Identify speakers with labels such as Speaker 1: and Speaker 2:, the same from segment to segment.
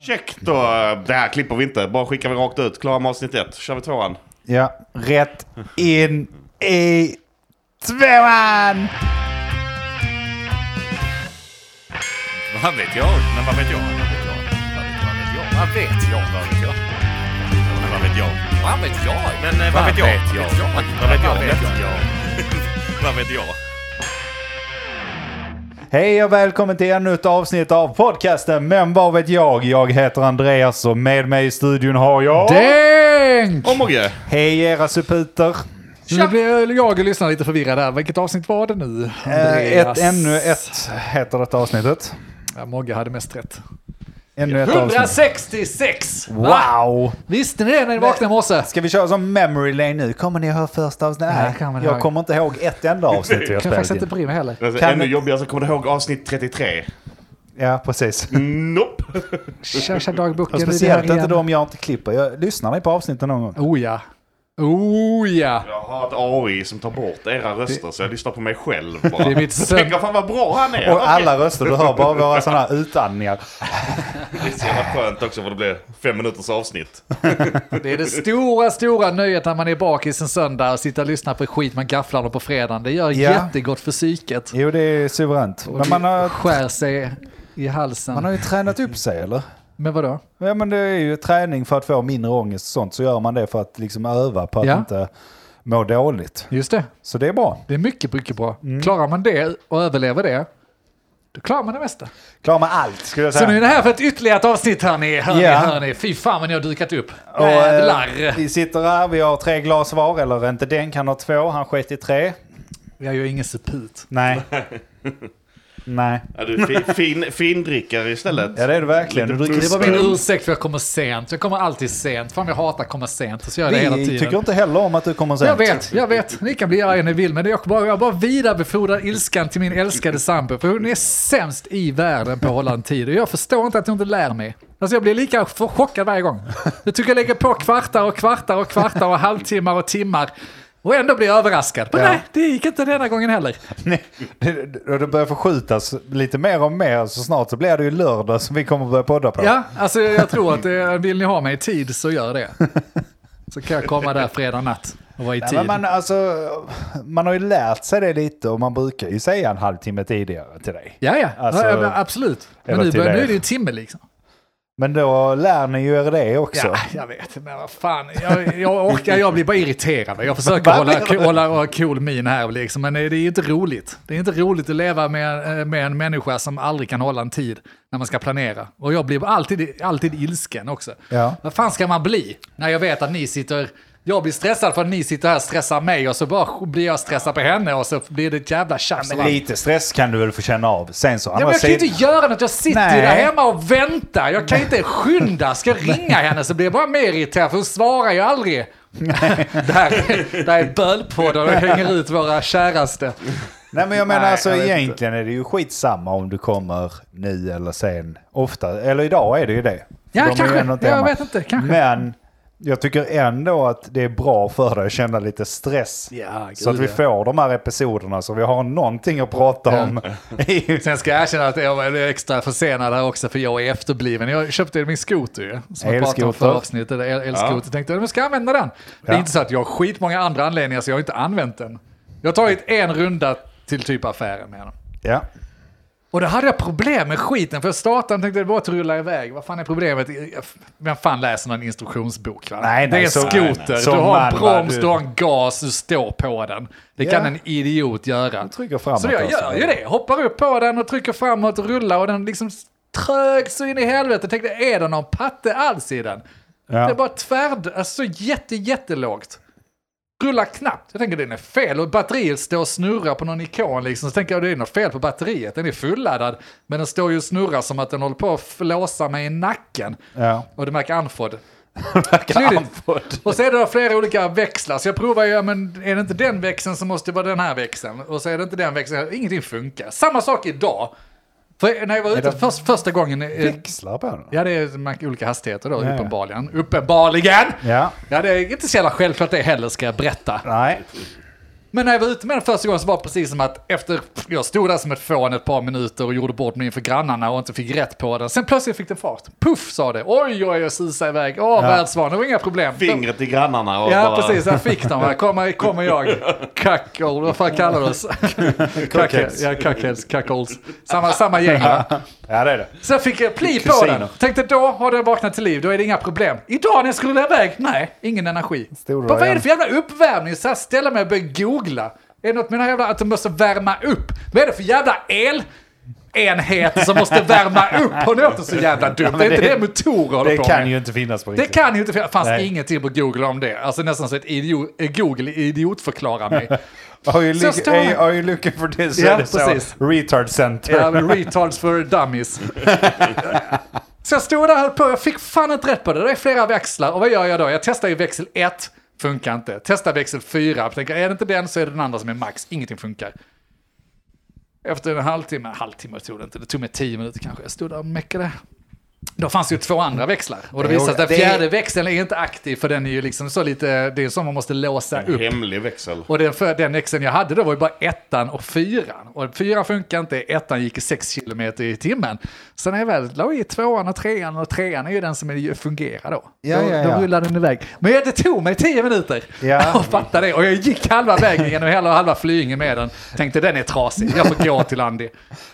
Speaker 1: Check då. Det här klipper vi inte. Bara skickar vi rakt ut. Klara med avsnitt ett. kör vi tvåan.
Speaker 2: Ja, rätt in i tvåan!
Speaker 3: Vad vet jag? Men vad vet jag? Vad vet jag? Vad vet jag?
Speaker 1: Men vad vet jag?
Speaker 3: Vad vet jag? Vad vet jag?
Speaker 1: Men, eh, vad vet jag?
Speaker 3: Vad vet jag?
Speaker 1: Vad vet jag?
Speaker 3: Vad vet jag?
Speaker 2: Hej och välkommen till ännu ett avsnitt av podcasten Men vad vet jag? Jag heter Andreas och med mig i studion har jag...
Speaker 4: Dänk!
Speaker 1: Och Mogge.
Speaker 2: Hej era suputer!
Speaker 4: Nu blir jag och lyssnar lite förvirrad där. Vilket avsnitt var det nu?
Speaker 2: Eh,
Speaker 4: Andreas?
Speaker 2: Ett, ännu ett heter detta avsnittet.
Speaker 4: Ja, Mogge hade mest rätt.
Speaker 2: Ännu ett avsnitt.
Speaker 3: 166!
Speaker 2: Wow!
Speaker 4: Visste ni det när ni vaknade i morse?
Speaker 2: Ska vi köra som memory lane nu? Kommer ni ihåg första avsnittet?
Speaker 4: Nej, jag kommer
Speaker 2: jag,
Speaker 4: inte ihåg.
Speaker 2: kommer inte ihåg ett enda avsnitt vi har
Speaker 4: Jag kan faktiskt
Speaker 2: spelat
Speaker 4: inte
Speaker 2: in.
Speaker 4: bry mig heller.
Speaker 1: Alltså,
Speaker 2: Kan
Speaker 1: ännu
Speaker 2: vi-
Speaker 1: jobbigare så kommer du ihåg avsnitt 33.
Speaker 2: Ja, precis.
Speaker 1: Nope.
Speaker 4: Tja, tja dagboken.
Speaker 2: Och
Speaker 4: är det
Speaker 2: speciellt
Speaker 4: här
Speaker 2: inte
Speaker 4: igen?
Speaker 2: de jag inte klipper. Jag lyssnar ni på avsnitten någon gång?
Speaker 4: Oh ja. Oh ja.
Speaker 1: Jag har ett AI som tar bort era röster så jag lyssnar på mig själv bara.
Speaker 4: Det är mitt sömn.
Speaker 1: Tänk vad fan vad bra han är.
Speaker 2: Och alla röster du hör, bara våra sådana här utandningar.
Speaker 1: Det är så jävla skönt också för det blir fem minuters avsnitt.
Speaker 4: Det är det stora, stora nöjet när man är bakis en söndag och sitter och lyssnar på skit man gafflar om på fredagen. Det gör
Speaker 2: Ja.
Speaker 4: jättegott för psyket.
Speaker 2: Jo, det är suveränt.
Speaker 4: Och
Speaker 2: Men man har,
Speaker 4: skär sig i halsen.
Speaker 2: man har ju tränat upp sig, eller?
Speaker 4: Men vadå?
Speaker 2: Ja, men det är ju träning för att få mindre ångest och sånt. Så gör man det för att liksom öva på att
Speaker 4: Ja.
Speaker 2: inte må dåligt.
Speaker 4: Just det.
Speaker 2: Så det är bra.
Speaker 4: Det är mycket, mycket bra.
Speaker 2: Mm.
Speaker 4: Klarar man det och överlever det, då klarar man det mesta.
Speaker 2: Klarar man allt, skulle jag
Speaker 4: Så nu är
Speaker 2: säga.
Speaker 4: det här för ett ytterligare ett avsnitt hörni. Hörni,
Speaker 2: Ja.
Speaker 4: hörni. Fy fan vad ni har dukat upp.
Speaker 2: Och, eh,
Speaker 4: Jävlar.
Speaker 2: vi sitter här, vi har tre glas var, eller inte den kan ha två, han sket i tre.
Speaker 4: Jag gör ingen suput.
Speaker 2: Nej. Nej.
Speaker 1: Ja, du är fi- fin, findrickare istället.
Speaker 2: Ja, det är det verkligen. Du dricker
Speaker 4: Det var min
Speaker 1: Spänn.
Speaker 4: ursäkt för jag kommer sent. Jag kommer alltid sent. Fan jag hatar att komma sent. Och så gör jag det hela
Speaker 2: Vi
Speaker 4: tiden.
Speaker 2: tycker inte heller om att typ du kommer sent.
Speaker 4: Jag vet, jag vet. Ni kan bli arga ni vill, men jag bara, jag bara vidarebefordrar ilskan till min älskade sambo. För hon är sämst i världen på att hålla en tid. Och jag förstår inte att hon inte lär mig. Alltså jag blir lika för- chockad varje gång. Jag tycker jag lägger på kvartar och kvartar och kvartar och halvtimmar och timmar. Och ändå blir jag överraskad. Men
Speaker 2: Ja.
Speaker 4: nej, det gick inte denna gången heller.
Speaker 2: Nej, det, det det börjar förskjutas lite mer och mer så snart så blir det ju lördag som vi kommer börja podda på.
Speaker 4: Ja, alltså jag tror att eh, vill ni ha mig i tid så gör det. Så kan jag komma där fredag natt och vara i
Speaker 2: Nej,
Speaker 4: tid.
Speaker 2: men man, alltså, man har ju lärt sig det lite och man brukar ju säga en halvtimme tidigare till dig.
Speaker 4: Ja, ja,
Speaker 2: Alltså,
Speaker 4: ja, men absolut. Men
Speaker 2: eller
Speaker 4: nu,
Speaker 2: till
Speaker 4: börjar- nu
Speaker 2: dig.
Speaker 4: är det ju en timme liksom.
Speaker 2: Men då lär ni ju er det också.
Speaker 4: Ja, jag vet, men vad fan. Jag, jag orkar, jag blir bara irriterad. Jag försöker hålla, hålla, hålla cool min här, liksom, men det är ju inte roligt. Det är inte roligt att leva med, eh, med en människa som aldrig kan hålla en tid när man ska planera. Och jag blir alltid, alltid ilsken också.
Speaker 2: Ja.
Speaker 4: Vad fan ska man bli när jag vet att ni sitter... Jag blir stressad för att ni sitter här och stressar mig och så bara blir jag stressad på henne och så blir det ett jävla tjafs.
Speaker 2: Men
Speaker 4: och allt.
Speaker 2: lite stress kan du väl få känna av. Sen så,
Speaker 4: Ja, men jag kan ju
Speaker 2: sidan-
Speaker 4: inte göra något, jag sitter ju
Speaker 2: Nej.
Speaker 4: där hemma och väntar. Jag kan ju inte skynda. Ska jag ringa henne så blir jag bara mer irriterad för hon svarar ju aldrig. där, där är bölpodden och hänger ut våra käraste.
Speaker 2: Nej men jag menar
Speaker 4: Nej,
Speaker 2: alltså
Speaker 4: jag vet
Speaker 2: egentligen är det ju skitsamma om du kommer nu eller sen. Ofta, eller idag är det ju det.
Speaker 4: Ja,
Speaker 2: De är ju
Speaker 4: kanske.
Speaker 2: ändå inte
Speaker 4: Jag
Speaker 2: hemma.
Speaker 4: vet inte, kanske.
Speaker 2: Men jag tycker ändå att det är bra för dig att känna lite stress.
Speaker 4: Ja, gud,
Speaker 2: så att vi
Speaker 4: ja.
Speaker 2: får de här episoderna så vi har någonting att prata
Speaker 4: Ja.
Speaker 2: om. i-
Speaker 4: Sen ska jag erkänna att jag var extra försenad här också för jag är efterbliven. Jag köpte min skoter ju. Som jag pratade om
Speaker 2: Elskoter.
Speaker 4: förra avsnittet. El- Elskoter. Tänkte jag, men ska jag använda den? Det är
Speaker 2: Ja.
Speaker 4: inte så att jag har skitmånga andra anledningar så jag har inte använt den. Jag har tagit en runda till typ affären med den.
Speaker 2: ja.
Speaker 4: Och då hade jag problem med skiten, för jag startade och tänkte det bara att rulla iväg. Vad fan är problemet? Vem fan läser någon instruktionsbok? Va?
Speaker 2: Nej, nej,
Speaker 4: det är en
Speaker 2: så-
Speaker 4: skoter,
Speaker 2: nej, nej.
Speaker 4: du
Speaker 2: Som
Speaker 4: har en
Speaker 2: man, va,
Speaker 4: broms,
Speaker 2: du-
Speaker 4: du har en gas, du står på den. Det
Speaker 2: Ja.
Speaker 4: kan en idiot göra.
Speaker 2: trycker framåt
Speaker 4: så jag
Speaker 2: alltså.
Speaker 4: gör ju det, hoppar upp på den och trycker framåt och rullar och den liksom trög så in i helvete. Jag tänkte, är det någon patte alls i den?
Speaker 2: Ja.
Speaker 4: Det är bara tvärd, alltså jätte, jättelågt rullar knappt. Jag tänker den är fel och batteriet står och snurrar på någon ikon liksom. Så tänker jag det är något fel på batteriet, den är fulladdad. Men den står ju och snurrar som att den håller på att flåsa mig i nacken.
Speaker 2: Ja.
Speaker 4: Och det märker Anford. Klurigt. Och så är det då flera olika växlar. Så jag provar ju, ja, men är det inte den växeln så måste det vara den här växeln. Och så är det inte den växeln, ingenting funkar. Samma sak idag. För när jag var ute
Speaker 2: det-
Speaker 4: först, första gången... eh,
Speaker 2: Växlar på den.
Speaker 4: Ja, det är man- olika hastigheter då,
Speaker 2: Ja, ja.
Speaker 4: uppenbarligen. Uppenbarligen!
Speaker 2: Ja.
Speaker 4: Ja, det är inte så jävla självklart det heller ska jag berätta.
Speaker 2: Nej.
Speaker 4: Men när jag var ute med den första gången så var det precis som att efter jag stod där som ett fån ett par minuter och gjorde bort mig inför grannarna och inte fick rätt på den. Sen plötsligt fick den fart. Puff sa det. Oj, oj, jag susade iväg. Åh, världsvan, det var inga problem.
Speaker 1: Fingret i grannarna och
Speaker 4: Ja,
Speaker 1: bara...
Speaker 4: precis. Här fick de. Här kommer, kommer jag. Cuckold, vad fan kallar du oss? Cuckheads. Ja, cuckheads, cuckolds. Samma, samma gäng, va?
Speaker 2: Ja, det är det.
Speaker 4: Så jag fick jag pli på
Speaker 2: Kusiner.
Speaker 4: den. Tänkte då har den vaknat till liv, då är det inga problem. Idag när jag skulle iväg, nej, ingen energi.
Speaker 2: Stod du
Speaker 4: Vad
Speaker 2: där
Speaker 4: är det
Speaker 2: igen?
Speaker 4: för jävla uppvärmning? Så här ställer mig och börjar googla. Är det något med den här jävla att de måste värma upp? Vad är det för jävla el? enhet som måste värma upp. Hon låter så jävla dum. det är
Speaker 2: det-
Speaker 4: inte det motorer håller
Speaker 2: Det
Speaker 4: på
Speaker 2: kan
Speaker 4: med.
Speaker 2: ju inte finnas på
Speaker 4: Det
Speaker 2: riktigt.
Speaker 4: kan ju inte, för det fanns
Speaker 2: Liksom. Nej.
Speaker 4: ingenting på Google om det. Alltså nästan så att idio- eh, Google idiotförklarar mig.
Speaker 2: Are you,
Speaker 4: Så
Speaker 2: look,
Speaker 4: står han-
Speaker 2: are, are you looking for this?
Speaker 4: Ja,
Speaker 2: Är det så?
Speaker 4: precis.
Speaker 2: Retard center.
Speaker 4: Ja, men retards for dummies. Så jag stod där och höll på, jag fick fan inte rätt på det. Det är flera växlar och vad gör jag då? Jag testar ju växel 1, funkar inte. Testar växel 4, jag tänker är det inte den så är det den andra som är max, ingenting funkar. Efter en halvtimme, halvtimme tog det inte, det tog mig 10 minuter kanske, jag stod där och meckade. Då fanns det ju två andra växlar och det
Speaker 2: Jo,
Speaker 4: visade sig att den
Speaker 2: det är-
Speaker 4: fjärde växeln är inte aktiv för den är ju liksom så lite, det är som man måste låsa upp.
Speaker 1: Hemlig växel.
Speaker 4: Och den, för, den exen jag hade då var ju bara ettan och fyran. Och fyran funkar inte, ettan gick i sex kilometer i timmen. Sen när jag väl la i tvåan och trean och trean är ju den som är- fungerar då.
Speaker 2: Ja,
Speaker 4: då,
Speaker 2: ja,
Speaker 4: då
Speaker 2: ja.
Speaker 4: rullar den iväg. Men jag- det tog mig tio minuter
Speaker 2: Ja.
Speaker 4: att fatta det. Och jag gick halva vägen genom hela halva flygningen med den. Tänkte den är trasig, jag får gå till Andy.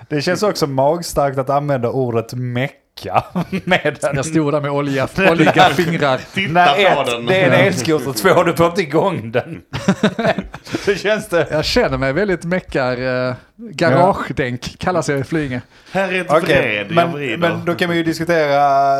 Speaker 2: Det känns också magstarkt att använda ordet mecka med den.
Speaker 4: Jag stod där med olja, oljiga fingrar.
Speaker 1: Titta
Speaker 2: När
Speaker 1: på
Speaker 2: ett,
Speaker 1: den.
Speaker 2: det är en elskoter, två, du får inte igång den. Så känns det.
Speaker 4: Jag känner mig väldigt meckar. Eh, garagedänk kallas jag i Flyinge.
Speaker 1: Här är ett
Speaker 2: Okej,
Speaker 1: vred, jag
Speaker 2: men,
Speaker 1: vrider.
Speaker 2: men då kan vi ju diskutera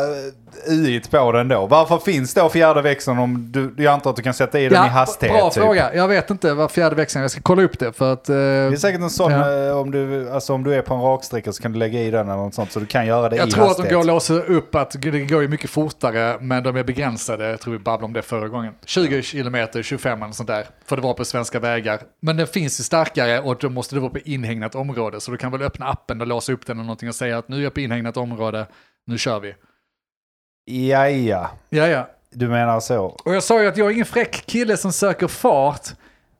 Speaker 2: UI på den då. Varför finns då fjärde växeln om du, jag antar att du kan sätta i den i hastighet?
Speaker 4: bra
Speaker 2: typ?
Speaker 4: fråga. Jag vet inte vad fjärde växeln är. Jag ska kolla upp det för att... eh,
Speaker 2: Det är säkert en sån,
Speaker 4: Ja.
Speaker 2: eh, om, du, alltså, om du är på en raksträcka så kan du lägga i den eller något sånt så du kan göra det
Speaker 4: Jag
Speaker 2: i
Speaker 4: tror att
Speaker 2: hastighet.
Speaker 4: de går att låsa upp att det går ju mycket fortare, men de är begränsade. Jag tror vi babblade om det förra gången. 20 kilometer, 25 eller sånt där, för det var på svenska vägar. Men den finns ju starkare och då måste det vara på inhägnat område. Så du kan väl öppna appen och låsa upp den eller någonting och säga att nu är jag på inhägnat område, nu kör vi.
Speaker 2: Ja, ja.
Speaker 4: Ja, ja.
Speaker 2: Du menar så.
Speaker 4: Och jag sa ju att jag är ingen fräck kille som söker fart,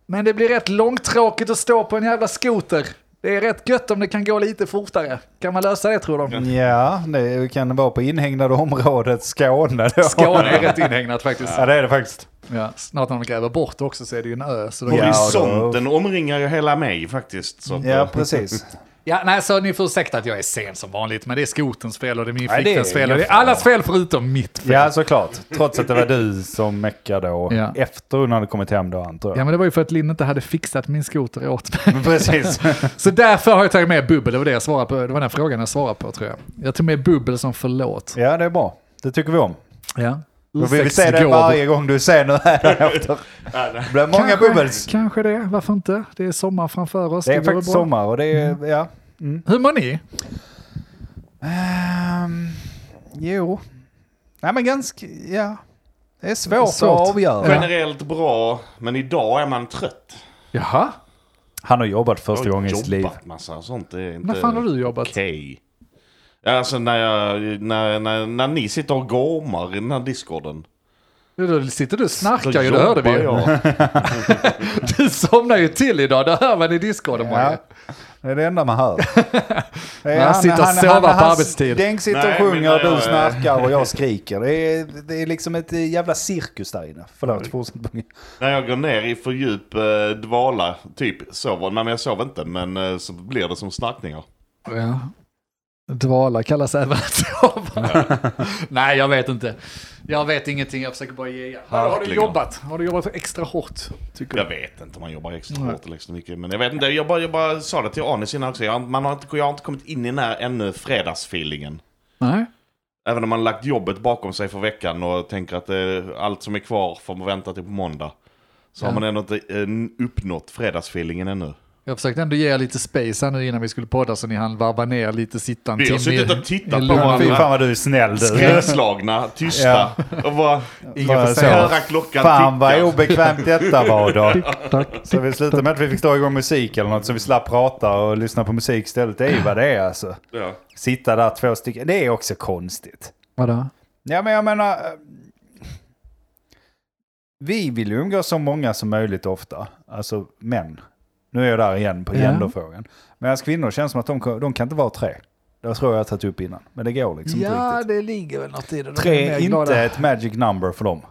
Speaker 4: men det blir rätt långtråkigt att stå på en jävla skoter. Det är rätt gött om det kan gå lite fortare. Kan man lösa det tror de?
Speaker 2: Ja, det kan vara på inhägnade området Skåne då.
Speaker 4: Skåne är rätt inhägnat faktiskt.
Speaker 2: Ja, det är det faktiskt.
Speaker 4: Ja, snart när de gräver bort det också så är det ju en ö. Så då...
Speaker 2: Ja.
Speaker 4: ja.
Speaker 1: Horisonten omringar ju hela mig faktiskt. Så att, eh,
Speaker 2: Ja, precis.
Speaker 4: nej, så ni får ursäkta att jag är sen som vanligt, men det är skotens fel och det är min
Speaker 2: Nej, det är
Speaker 4: flickväns fel och det
Speaker 2: ingen
Speaker 4: är allas fel förutom mitt fel.
Speaker 2: Ja, såklart. Trots att det var du som meckade och
Speaker 4: Ja.
Speaker 2: efter hon hade kommit hem då antar
Speaker 4: Ja,
Speaker 2: jag.
Speaker 4: men det var ju för att Linn inte hade fixat min skoter åt mig.
Speaker 2: Precis.
Speaker 4: Mm. Så därför har jag tagit med bubbel, det var det jag svarade på. Det var den frågan jag svarade på tror jag. Jag tog med bubbel som förlåt.
Speaker 2: Ja, det är bra. Det tycker vi om.
Speaker 4: Ja.
Speaker 2: Då vill vi se det varje gång du ser nu här efter. Det blir många bubbels.
Speaker 4: Kanske det, varför inte? Det är sommar framför oss.
Speaker 2: Det är
Speaker 4: vore
Speaker 2: faktiskt
Speaker 4: bra. Mm.
Speaker 2: sommar och det är, ja.
Speaker 4: Hur mår ni?
Speaker 2: Ehm, jo. Nej men ganska, ja. Det är svårt,
Speaker 4: Svårt.
Speaker 2: att avgöra.
Speaker 1: Generellt bra, men idag är man trött.
Speaker 4: Jaha,
Speaker 2: Han har jobbat
Speaker 1: Jag
Speaker 2: första
Speaker 1: har
Speaker 2: gången i sitt
Speaker 1: jobbat
Speaker 2: liv.
Speaker 1: massa sånt. Det är inte
Speaker 4: när fan har du jobbat?
Speaker 1: Okej. Alltså när, jag, när, när, när ni sitter och gormar i den här discorden.
Speaker 4: Då sitter du
Speaker 1: då
Speaker 4: och snarkar ju, det hörde vi
Speaker 1: jobbar
Speaker 4: ju.
Speaker 1: jag.
Speaker 4: Du somnar ju till idag, det hör man i discorden.
Speaker 2: Ja,
Speaker 4: Ja.
Speaker 2: det är det enda man hör. Det är
Speaker 4: han sitter och sover på arbetstid.
Speaker 2: Deng sitter och
Speaker 1: Nej, men eh,
Speaker 2: sjunger,
Speaker 1: jag-
Speaker 2: du snarkar och jag skriker. Det är, det är liksom ett eh, jävla cirkus där inne. Förlåt, fortsätt.
Speaker 1: när jag går ner i för djup eh, dvala, typ sover. Nej men jag sover inte, men eh, så blir det som snarkningar.
Speaker 4: Ja. Dvala kallas även att sova. Nej, jag vet inte. Jag vet ingenting, jag försöker bara ge er. Har, har du
Speaker 1: Verkligen.
Speaker 4: jobbat? Har du jobbat extra hårt? Tycker
Speaker 1: Jag
Speaker 4: du?
Speaker 1: vet inte om man jobbar extra hårt eller extra mycket. Men jag vet inte, jag bara, jag bara sa det till Anis innan också. Jag, man har inte, jag har inte kommit in i den här ännu fredagsfeelingen.
Speaker 4: Nej.
Speaker 1: Även om man lagt jobbet bakom sig för veckan och tänker att eh, allt som är kvar får man vänta till på måndag. Så
Speaker 4: Ja.
Speaker 1: har man ändå inte eh, uppnått fredagsfeelingen ännu.
Speaker 4: Jag försökte ändå ge er lite space här nu innan vi skulle podda så ni hann varva ner lite sittan.
Speaker 1: Vi har
Speaker 4: timme i-
Speaker 1: suttit och tittat
Speaker 4: i
Speaker 1: på
Speaker 4: lugn.
Speaker 1: varandra.
Speaker 2: Fy fan vad du är snäll du.
Speaker 1: Skräckslagna, tysta och bara
Speaker 4: Ingen får
Speaker 2: Bara
Speaker 4: säga.
Speaker 2: så.
Speaker 1: höra klockan
Speaker 2: Fan vad
Speaker 1: ticka.
Speaker 2: obekvämt detta var då.
Speaker 4: Tack.
Speaker 2: Så vi slutade med att vi fick stå igång musik eller något så vi slapp prata och lyssna på musik istället. Det är ju vad det är alltså.
Speaker 1: Ja.
Speaker 2: Sitta där två stycken, det är också konstigt.
Speaker 4: Vadå?
Speaker 2: Ja men jag menar... eh, Vi vill ju umgås så många som möjligt ofta. Alltså män. Nu är jag där igen på
Speaker 4: Ja.
Speaker 2: genderfrågan. Medan kvinnor känns som att de, kan- de kan inte vara tre. Det tror jag jag har tagit upp innan. Men det går liksom inte
Speaker 4: Ja,
Speaker 2: riktigt.
Speaker 4: det ligger väl något i det. De
Speaker 2: Tre
Speaker 4: är mer
Speaker 2: är inte
Speaker 4: glada.
Speaker 2: ett magic number för dem.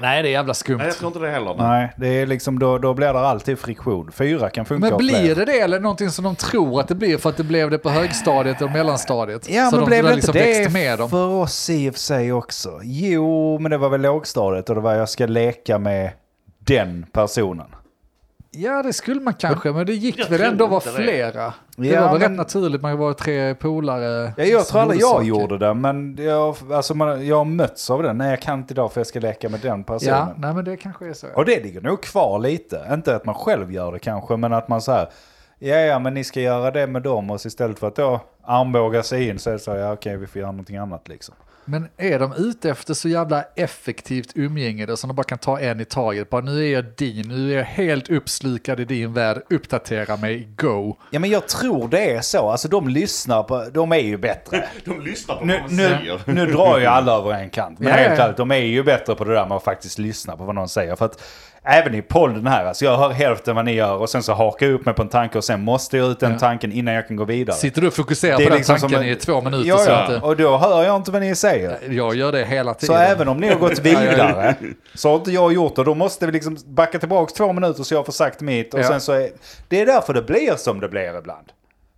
Speaker 4: Nej, det är jävla skumt.
Speaker 1: Nej, jag tror inte det heller. Nej.
Speaker 2: Nej, det är liksom, då, då blir det alltid friktion. Fyra kan funka
Speaker 4: Men
Speaker 2: och
Speaker 4: blir
Speaker 2: fler.
Speaker 4: det det eller någonting som de tror att det blir för att det blev det på högstadiet och mellanstadiet?
Speaker 2: Ja,
Speaker 4: så
Speaker 2: men
Speaker 4: de
Speaker 2: blev
Speaker 4: där
Speaker 2: det
Speaker 4: liksom
Speaker 2: inte
Speaker 4: växte
Speaker 2: det
Speaker 4: med dem.
Speaker 2: för oss i och för sig också? Jo, men det var väl lågstadiet och det var jag ska leka med den personen.
Speaker 4: Ja, det skulle man kanske, men det gick
Speaker 1: Jag
Speaker 4: väl
Speaker 1: tror
Speaker 4: ändå vara
Speaker 1: inte det.
Speaker 4: flera. Det
Speaker 2: Ja,
Speaker 4: var väl
Speaker 2: men-
Speaker 4: rätt naturligt, man var tre polare.
Speaker 2: Ja, jag tror aldrig jag
Speaker 4: Huvudsaker.
Speaker 2: gjorde det, men jag, alltså man, jag har mötts av den. Nej, jag kan inte idag för jag ska leka med den personen.
Speaker 4: Ja, nej men det kanske är så.
Speaker 2: Och det ligger nog kvar lite. Inte att man själv gör det kanske, men att man så här, ja, ja, men ni ska göra det med dem och så istället för att då armbåga sig in så är det så här, ja, okej, vi får göra någonting annat liksom.
Speaker 4: Men är de ute efter så jävla effektivt umgänge då, som de bara kan ta en i taget? Bara nu är jag din, nu är jag helt uppslukad i din värld, uppdatera mig, go.
Speaker 2: Ja, men jag tror det är så. Alltså de lyssnar på, de är ju bättre.
Speaker 1: De lyssnar på
Speaker 2: Nu,
Speaker 1: vad man
Speaker 2: nu,
Speaker 1: säger.
Speaker 2: nu drar ju alla över en kant. Men
Speaker 4: Ja, ja,
Speaker 2: helt
Speaker 4: ja.
Speaker 2: ärligt, de är ju bättre på det där med att faktiskt lyssna på vad någon säger. För att även i podden här, alltså jag hör hälften vad ni gör och sen så hakar jag upp mig på en tanke och sen måste jag ut den
Speaker 4: Ja.
Speaker 2: tanken innan jag kan gå vidare.
Speaker 4: Sitter du och fokuserar
Speaker 2: Det är
Speaker 4: på den
Speaker 2: liksom som
Speaker 4: tanken
Speaker 2: en-
Speaker 4: i två minuter
Speaker 2: ja,
Speaker 4: så att
Speaker 2: ja.
Speaker 4: det,
Speaker 2: Och då hör jag inte vad ni säger.
Speaker 4: Jag gör det hela
Speaker 2: Så
Speaker 4: tiden.
Speaker 2: även om ni har gått vidare så har inte jag gjort det. Då måste vi liksom backa tillbaka två minuter så jag får sagt mitt. Och
Speaker 4: Ja.
Speaker 2: sen så är, det är därför det blir som det blir ibland.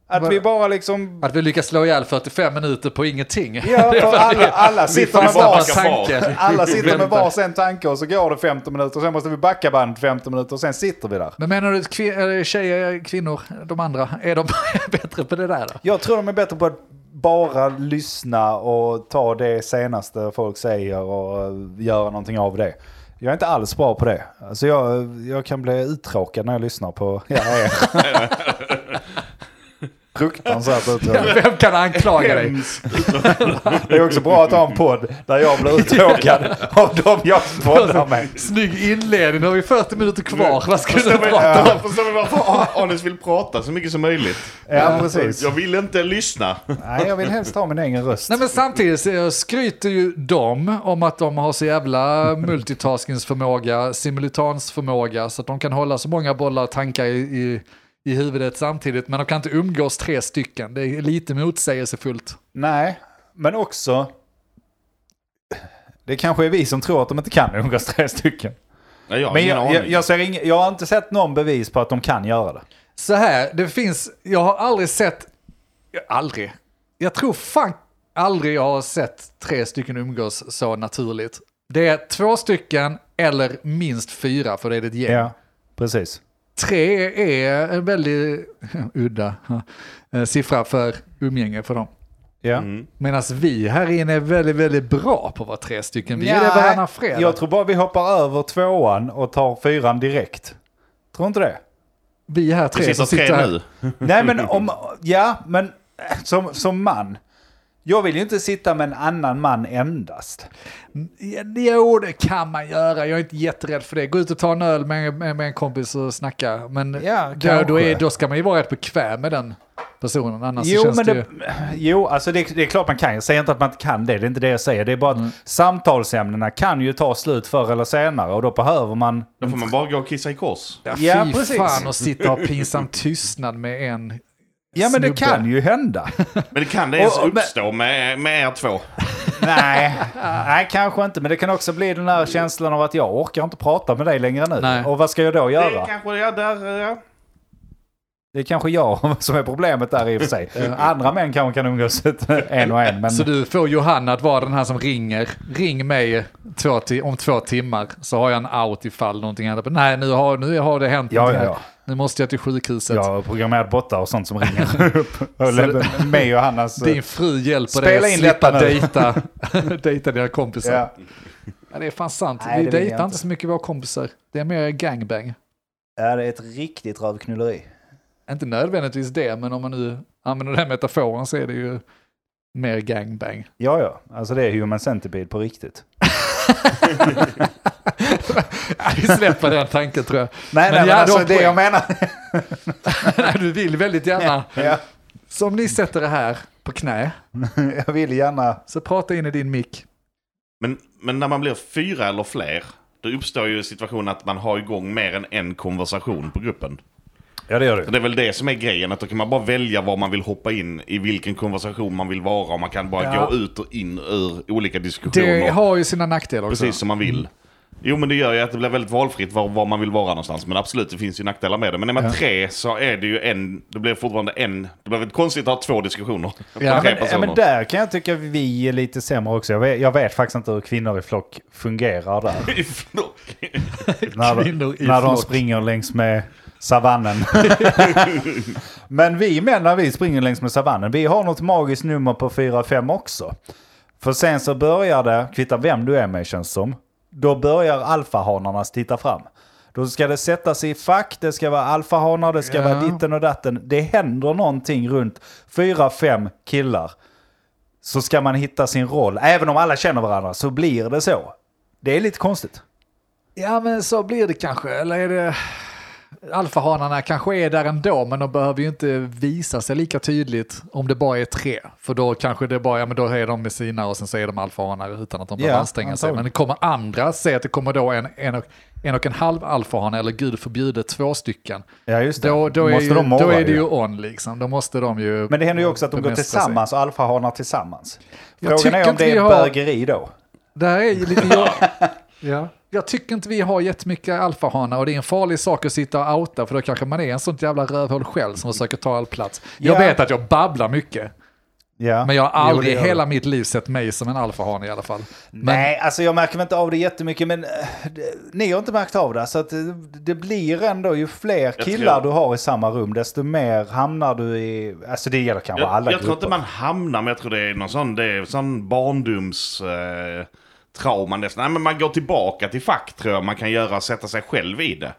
Speaker 2: Att
Speaker 4: Vad-
Speaker 2: vi bara liksom...
Speaker 4: Att vi lyckas slå ihjäl 45 minuter på ingenting.
Speaker 2: Ja, för alla, alla,
Speaker 4: Vi
Speaker 2: sitter
Speaker 4: får
Speaker 2: med
Speaker 1: bara
Speaker 4: samma
Speaker 2: vars,
Speaker 1: backa fart.
Speaker 4: tanke.
Speaker 2: alla sitter med
Speaker 4: Vänta.
Speaker 2: varsin tanke och så går det 15 minuter. Och sen måste vi backa band 15 minuter och sen sitter vi där.
Speaker 4: Men menar du att kvin- eller tjejer, kvinnor, de andra, är de bättre på det där då?
Speaker 2: Jag tror de är bättre på att bara lyssna och ta det senaste folk säger och eh, göra någonting av det. Jag är inte alls bra på det. Alltså jag, jag kan bli uttråkad när jag lyssnar på ja, er. Fruktansvärt uttråkad.
Speaker 4: Vem kan anklaga dig?
Speaker 2: Det är också bra att ha en podd där jag blir uttråkad av dem jag poddar med.
Speaker 4: Snygg inledning, nu har vi 40 minuter kvar. Vad ska du
Speaker 1: Förstår vi-
Speaker 4: prata om?
Speaker 1: Förstår vi varför Anis vill prata så mycket som möjligt?
Speaker 2: Ja, precis.
Speaker 1: Jag vill inte lyssna.
Speaker 2: Nej, jag vill helst ha min egen röst.
Speaker 4: Nej men samtidigt så skryter ju de om att de har så jävla multitaskingsförmåga, simultansförmåga, så att de kan hålla så många bollar och tankar i, i, i huvudet samtidigt. Men de kan inte umgås tre stycken, det är lite motsägelsefullt.
Speaker 2: Nej, men också... Det kanske är vi som tror att de inte kan umgås tre stycken.
Speaker 1: Nej, jag har
Speaker 2: Men
Speaker 1: ingen
Speaker 2: jag,
Speaker 1: aning.
Speaker 2: jag, jag, ser ing, jag har inte sett någon bevis på att de kan göra det.
Speaker 4: Så här, det finns, jag har aldrig sett, jag- aldrig, jag tror fan aldrig jag har sett tre stycken umgås så naturligt. Det är två stycken eller minst fyra, för det är ett gäng.
Speaker 2: precis.
Speaker 4: Tre är en väldigt udda eh, siffra för umgänge för dem.
Speaker 2: Ja.
Speaker 1: Mm.
Speaker 2: Mm.
Speaker 4: Medan vi här inne är väldigt, väldigt bra på att vara tre stycken. Vi är det
Speaker 2: Nej,
Speaker 4: varannan fredag.
Speaker 2: Jag tror bara vi hoppar över tvåan och tar fyran direkt. Tror inte det?
Speaker 4: vi här tre
Speaker 1: det sitter
Speaker 4: som sitter
Speaker 1: tre
Speaker 4: här.
Speaker 1: nu.
Speaker 2: Nej men om, ja men eh, som, som man. Jag vill ju inte sitta med en annan man endast.
Speaker 4: Ja, Jo, det kan man göra. Jag är inte jätterädd för det. Gå ut och ta en öl med, med, med en kompis och snacka. Men
Speaker 2: Ja,
Speaker 4: då, då,
Speaker 2: kanske.
Speaker 4: är, då ska man ju vara rätt bekväm med den personen. Annars så
Speaker 2: Jo,
Speaker 4: känns
Speaker 2: men
Speaker 4: det
Speaker 2: Alltså, det,
Speaker 4: ju...
Speaker 2: jo, alltså det, det är klart man kan. Jag säger inte att man inte kan det. Det är inte det jag säger. Det är bara att
Speaker 4: Mm.
Speaker 2: samtalsämnena kan ju ta slut förr eller senare och då behöver man...
Speaker 1: Då får man bara gå och kissa i kors.
Speaker 4: Ja,
Speaker 2: Ja,
Speaker 4: fy
Speaker 2: precis.
Speaker 4: fan och sitta och ha pinsam tystnad med en
Speaker 2: Ja men det
Speaker 4: snubbe.
Speaker 2: kan ju hända.
Speaker 1: Men det kan det ens
Speaker 2: Och- och- men-
Speaker 1: uppstå med, med er två?
Speaker 2: Nej, nej, kanske inte. Men det kan också bli den där känslan av att jag orkar inte prata med dig längre nu.
Speaker 4: Nej.
Speaker 2: Och vad ska jag då
Speaker 1: Det
Speaker 2: göra?
Speaker 1: är kanske jag där... Ja.
Speaker 2: Det är kanske jag som är problemet där i och för sig. Andra män kanske kan umgås ut en och en. Men
Speaker 4: Så du får Johanna att vara den här som ringer. Ring mig två ti- om två timmar så har jag en out ifall någonting händer. Men Nej, nu har, nu har det hänt
Speaker 2: Ja,
Speaker 4: någonting
Speaker 2: ja,
Speaker 4: här. Nu måste jag till sjukhuset.
Speaker 2: jag har programmerat bottar och sånt som ringer upp. Och lämnar mig och Hannas...
Speaker 4: Din fru hjälper
Speaker 2: Spela
Speaker 4: dig
Speaker 2: in
Speaker 4: att slippa
Speaker 2: detta nu.
Speaker 4: dejta, dejta dina kompisar.
Speaker 2: Ja.
Speaker 4: Ja. det är fan sant.
Speaker 2: Nej, det
Speaker 4: vi
Speaker 2: vill jag
Speaker 4: dejtar
Speaker 2: inte.
Speaker 4: inte så mycket våra kompisar. Det är mer gangbang.
Speaker 2: ja, det är ett riktigt rövknulleri.
Speaker 4: Inte nödvändigtvis det, men om man nu använder den metaforen så är det ju mer gangbang.
Speaker 2: Ja, ja. Alltså det är human centipede på riktigt.
Speaker 4: Vi släpper den tanken tror jag.
Speaker 2: Nej,
Speaker 4: Men
Speaker 2: nej,
Speaker 4: ja,
Speaker 2: men alltså
Speaker 4: de
Speaker 2: det
Speaker 4: poäng. Ah.
Speaker 2: jag menar...
Speaker 4: Nej, du vill väldigt gärna.
Speaker 2: Ja,
Speaker 4: Så om ni sätter det här på knä,
Speaker 2: jag vill gärna...
Speaker 4: så prata in i din mick.
Speaker 1: Men, men när man blir fyra eller fler, Då uppstår ju situationen att man har igång mer än en konversation på gruppen.
Speaker 2: Ja, det gör
Speaker 1: Så
Speaker 2: du.
Speaker 1: det är väl det som är grejen, att då kan man bara välja var man vill hoppa in, i vilken konversation man vill vara och man kan bara
Speaker 4: Ja.
Speaker 1: gå ut och in ur olika diskussioner.
Speaker 4: Det har ju sina nackdelar också.
Speaker 2: Alltså.
Speaker 1: precis som man vill.
Speaker 2: Mm.
Speaker 1: Jo men det gör ju att det blir väldigt valfritt var, var man vill vara någonstans. Men absolut, det finns ju nackdelar med det. Men är man tre så är det ju en, det blir fortfarande en, det blir väldigt konstigt att ha två diskussioner.
Speaker 4: Ja,
Speaker 1: Tre
Speaker 2: Men, ja, men där kan jag tycka vi är lite sämre också. Jag vet, jag vet faktiskt inte hur kvinnor i flock fungerar där. när de,
Speaker 4: Kvinnor i
Speaker 2: när de
Speaker 4: flock.
Speaker 2: springer längs med savannen. Men vi män när vi springer längs med savannen, vi har något magiskt nummer på 4-5 också. För sen så börjar det, kvittar vem du är med känns som, då börjar alfahanarna titta fram. Då ska det sätta sig i fack, det ska vara alfahanar, det ska
Speaker 4: Ja.
Speaker 2: vara ditten och datten. Det händer någonting runt 4-5 killar. Så ska man hitta sin roll. Även om alla känner varandra så blir det så. Det är lite konstigt.
Speaker 4: Ja, men så blir det kanske. Eller är det... Alfahanarna kanske är där ändå, men de behöver ju inte visa sig lika tydligt om det bara är tre. För då kanske det bara, ja men då är de med sina och sen så är de alfahanar utan att de behöver
Speaker 2: Ja,
Speaker 4: anstränga sig.
Speaker 2: antagligen.
Speaker 4: Men det kommer andra, säg att det kommer då en, en, och, en och en halv alfahane, eller gud förbjude två stycken.
Speaker 2: Ja, just det.
Speaker 4: Då, då, är,
Speaker 2: Måste
Speaker 4: ju,
Speaker 2: de morra
Speaker 4: då är det
Speaker 2: ju.
Speaker 4: ju on liksom, då måste de ju...
Speaker 2: Men det händer ju också att de går
Speaker 4: bemästra sig.
Speaker 2: tillsammans och alfahanar tillsammans.
Speaker 4: Jag
Speaker 2: Frågan
Speaker 4: tycker
Speaker 2: är om
Speaker 4: inte
Speaker 2: det
Speaker 4: vi
Speaker 2: är
Speaker 4: har-
Speaker 2: bögeri då.
Speaker 4: Det här är ju lite jag. ja. Jag tycker inte vi har jättemycket alfahanar och det är en farlig sak att sitta och outa för då kanske man är en sånt jävla rövhål själv som försöker ta all plats. Jag
Speaker 2: Ja.
Speaker 4: vet att jag babblar mycket,
Speaker 2: Ja.
Speaker 4: men jag har
Speaker 2: Jo, det
Speaker 4: aldrig i
Speaker 2: gör
Speaker 4: hela mitt liv sett mig som en alfahane i alla fall. Men,
Speaker 2: Nej, alltså jag märker väl inte av det jättemycket, men eh, det- ni har inte märkt av det. Så att det, det blir ändå, ju fler killar
Speaker 1: tror-
Speaker 2: du har i samma rum, desto mer hamnar du i... Alltså det gäller kanske alla
Speaker 1: Jag, jag tror
Speaker 2: grupper.
Speaker 1: inte man hamnar, men jag tror det är någon sån, det är sån barndoms... Eh, trauman nästan. Nej men man går tillbaka till fack tror jag man kan göra, sätta sig själv i det.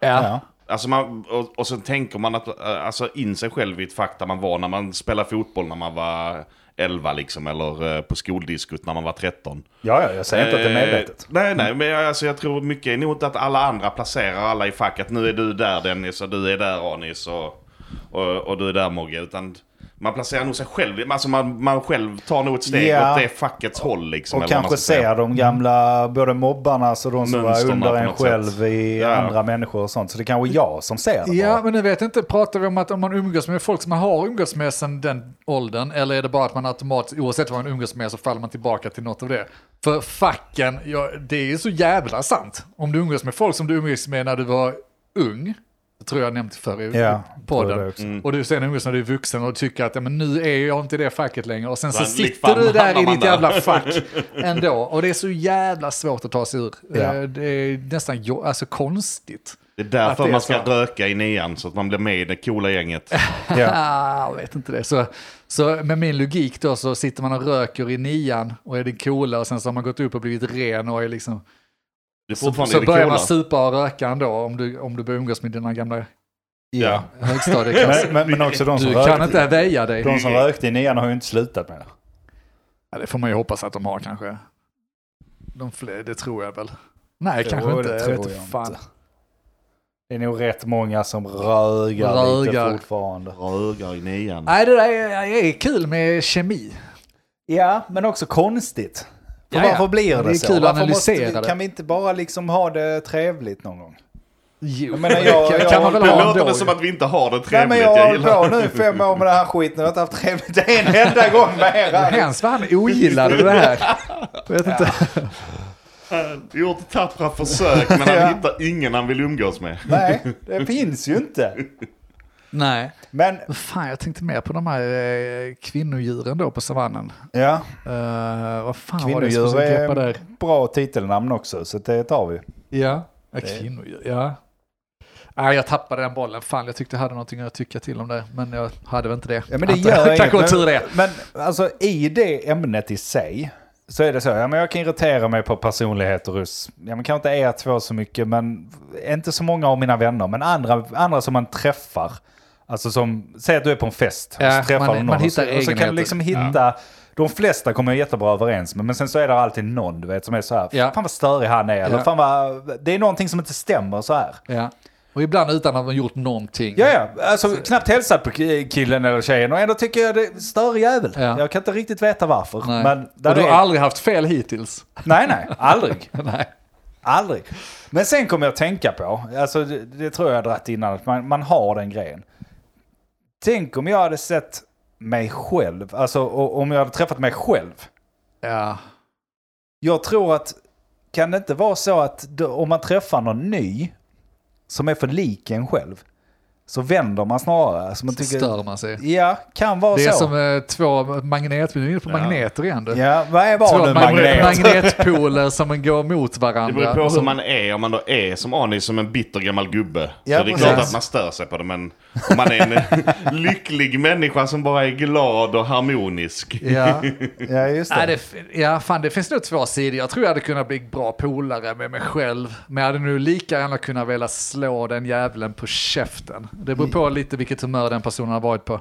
Speaker 4: ja.
Speaker 2: Ja.
Speaker 1: Alltså man, och, och sen tänker man att, eh, alltså in sig själv i ett fack där man var när man spelade fotboll när man var 11 liksom, eller eh, på skoldiskot när man var 13.
Speaker 2: Ja, ja, jag säger inte att det är medvetet.
Speaker 1: Eh, nej, nej, men jag, alltså, jag tror mycket är nog att alla andra placerar alla i facket. Nu är du där Dennis och du är där Anis och, och, och du är där Mogge. Utan man placerar nog sig själv, alltså man, man själv tar nog ett steg
Speaker 2: Ja.
Speaker 1: åt det fackets håll liksom.
Speaker 2: Och
Speaker 1: eller vad man
Speaker 2: kanske
Speaker 1: ska säga.
Speaker 2: ser de gamla, både mobbarna och de som var
Speaker 1: Mönsterna Mm.
Speaker 2: under
Speaker 1: på
Speaker 2: en
Speaker 1: något
Speaker 2: själv
Speaker 1: sätt.
Speaker 2: i
Speaker 1: Ja.
Speaker 2: andra människor och sånt. Så det kanske är jag som ser det
Speaker 4: ja,
Speaker 2: bara.
Speaker 4: men nu vet jag inte, pratar vi om att om man umgås med folk som man har umgås med sedan den åldern, eller är det bara att man automatiskt, oavsett vad man umgås med, så faller man tillbaka till något av det? För facken, ja, det är ju så jävla sant. Om du umgås med folk som du umgås med när du var ung, det tror jag nämnt förr i
Speaker 2: Ja, tror jag det
Speaker 4: podden,
Speaker 2: också.
Speaker 4: och du sen umgås när du är vuxen och tycker att ja, men nu är jag inte i det facket längre, och sen så
Speaker 1: Fan,
Speaker 4: sitter
Speaker 1: fan
Speaker 4: du där i
Speaker 1: hamnar man
Speaker 4: ditt
Speaker 1: där.
Speaker 4: jävla fack ändå, och det är så jävla svårt att ta sig ur.
Speaker 2: Ja.
Speaker 4: Eh, Det är nästan jo- alltså, konstigt.
Speaker 1: Det är
Speaker 4: att
Speaker 1: därför
Speaker 4: det är
Speaker 1: man ska
Speaker 4: så.
Speaker 1: röka i nian så att man blir med i det coola gänget.
Speaker 2: Ja.
Speaker 4: Ah, jag vet inte det. Så, så med min logik då så sitter man och röker i nian och är den coola och sen så har man gått upp och blivit ren och är liksom...
Speaker 1: Det är
Speaker 4: Så,
Speaker 1: fortfarande
Speaker 4: så
Speaker 1: det
Speaker 4: börjar
Speaker 1: coola.
Speaker 4: man supa och röka ändå om du, om du börjar umgås med dina gamla
Speaker 1: Ja.
Speaker 4: högstadieklasser.
Speaker 2: Men, men, men också de som,
Speaker 4: Alltså, Du kan
Speaker 2: rökte,
Speaker 4: inte väja dig.
Speaker 2: de som rökte i nian har ju inte slutat med det.
Speaker 4: Ja, det får man ju hoppas att de har kanske. De fler, det tror jag väl. Nej,
Speaker 2: Jo,
Speaker 4: kanske inte.
Speaker 2: det
Speaker 4: Jag
Speaker 2: tror
Speaker 4: vet inte
Speaker 2: jag
Speaker 4: fan.
Speaker 2: inte. Det är nog rätt många som rögar,
Speaker 4: Rögar.
Speaker 2: lite fortfarande.
Speaker 1: Röka i nian.
Speaker 2: Äh,
Speaker 4: Nej, det där är, är kul med kemi.
Speaker 2: Ja, men också konstigt. För
Speaker 4: Jaja,
Speaker 2: varför blir det,
Speaker 4: det är
Speaker 2: så?
Speaker 4: kul att
Speaker 2: Varför måste
Speaker 4: analysera
Speaker 2: vi,
Speaker 4: det.
Speaker 2: Kan vi inte bara liksom ha det trevligt någon gång?
Speaker 4: Jo,
Speaker 2: Jag menar, jag-
Speaker 4: kan,
Speaker 2: jag-
Speaker 4: kan man väl
Speaker 1: Nu
Speaker 4: ha
Speaker 1: låter
Speaker 4: ändå.
Speaker 1: det som att vi inte har det
Speaker 2: Nej,
Speaker 1: trevligt.
Speaker 2: men jag har
Speaker 1: jag
Speaker 2: hållit på
Speaker 1: gillar
Speaker 2: nu i fem år med den här skiten och jag har inte haft trevligt en enda gång med er.
Speaker 4: Hans fan ogillade det här. Jag vet inte.
Speaker 1: Du har gjort tappra försök men han
Speaker 2: Ja.
Speaker 1: hittar ingen han vill umgås med.
Speaker 2: Nej, det finns ju inte.
Speaker 4: Nej.
Speaker 2: Men,
Speaker 4: Fan, jag tänkte mer på de här eh, kvinnodjuren då på savannen.
Speaker 2: ja,
Speaker 4: Eh, vad fan var det som
Speaker 2: kvinnodjur
Speaker 4: greppade
Speaker 2: är
Speaker 4: där?
Speaker 2: ett bra titelnamn också, så det tar vi.
Speaker 4: Ja, ja kvinnodjur, ja. Nej, jag tappade den bollen. Fan, jag tyckte jag hade någonting att tycka till om det, men jag hade väl inte det.
Speaker 2: Ja, men det
Speaker 4: Att-
Speaker 2: gör inget.
Speaker 4: Kanske var
Speaker 2: Men,
Speaker 4: tur det.
Speaker 2: men alltså i det ämnet i sig så är det så. Ja, men jag kan irritera mig på personligheter hos, ja men kanske inte er två så mycket, men inte så många av mina vänner, men andra, andra som man träffar. Alltså som, säg att du är på en fest,
Speaker 4: Ja,
Speaker 2: så träffar
Speaker 4: man-
Speaker 2: du någon
Speaker 4: man
Speaker 2: och så,
Speaker 4: hittar
Speaker 2: och så kan du
Speaker 4: egenheter.
Speaker 2: liksom hitta, de flesta kommer jag jättebra överens med, men sen så är det alltid någon du vet som är så här,
Speaker 4: Ja.
Speaker 2: fan vad störig han är, eller
Speaker 4: Ja.
Speaker 2: fan vad, det är någonting som inte stämmer så här.
Speaker 4: Ja. Och ibland utan att man gjort någonting.
Speaker 2: Ja, ja. Alltså knappt hälsat på ki- killen eller tjejen och ändå tycker jag det stör jävel.
Speaker 4: Ja.
Speaker 2: Jag kan inte riktigt veta varför.
Speaker 4: Nej.
Speaker 2: Men där
Speaker 4: och du
Speaker 2: är...
Speaker 4: har aldrig haft fel hittills.
Speaker 2: Nej, nej. Aldrig.
Speaker 4: Nej.
Speaker 2: Aldrig. Men sen kom jag att tänka på, alltså det, det tror jag jag dratt innan, att man, man har den grejen. Tänk om jag hade sett mig själv, alltså o- om jag hade träffat mig själv.
Speaker 4: Ja.
Speaker 2: Jag tror att, kan det inte vara så att då, om man träffar någon ny som är för lik en själv, så vänder man snarare. Så man tycker,
Speaker 4: Stör man sig.
Speaker 2: Ja, kan vara
Speaker 4: Det är
Speaker 2: så.
Speaker 4: som eh, två magnet, vi är inne på magneter igen du.
Speaker 2: Ja, vad är
Speaker 4: Två
Speaker 2: var nu
Speaker 4: magne-
Speaker 2: magnet?
Speaker 4: magnetpoler som går mot
Speaker 1: Det
Speaker 4: varandra.
Speaker 1: beror på
Speaker 4: Och
Speaker 1: hur
Speaker 4: så-
Speaker 1: man är. Om man då är som Anis, som en bitter gammal gubbe.
Speaker 2: Ja,
Speaker 1: så det är
Speaker 2: precis.
Speaker 1: klart att man stör sig på det. Men om man är en lycklig människa som bara är glad och harmonisk.
Speaker 4: Ja.
Speaker 2: Ja, just
Speaker 4: Nej,
Speaker 2: det.
Speaker 4: det, f- ja, fan det finns nog två sidor. Jag tror jag hade kunnat bli bra polare med mig själv. Men jag hade nu lika gärna kunnat vilja slå den jävlen på käften. Det
Speaker 2: Mm.
Speaker 4: beror på lite vilket humör den personen har varit på.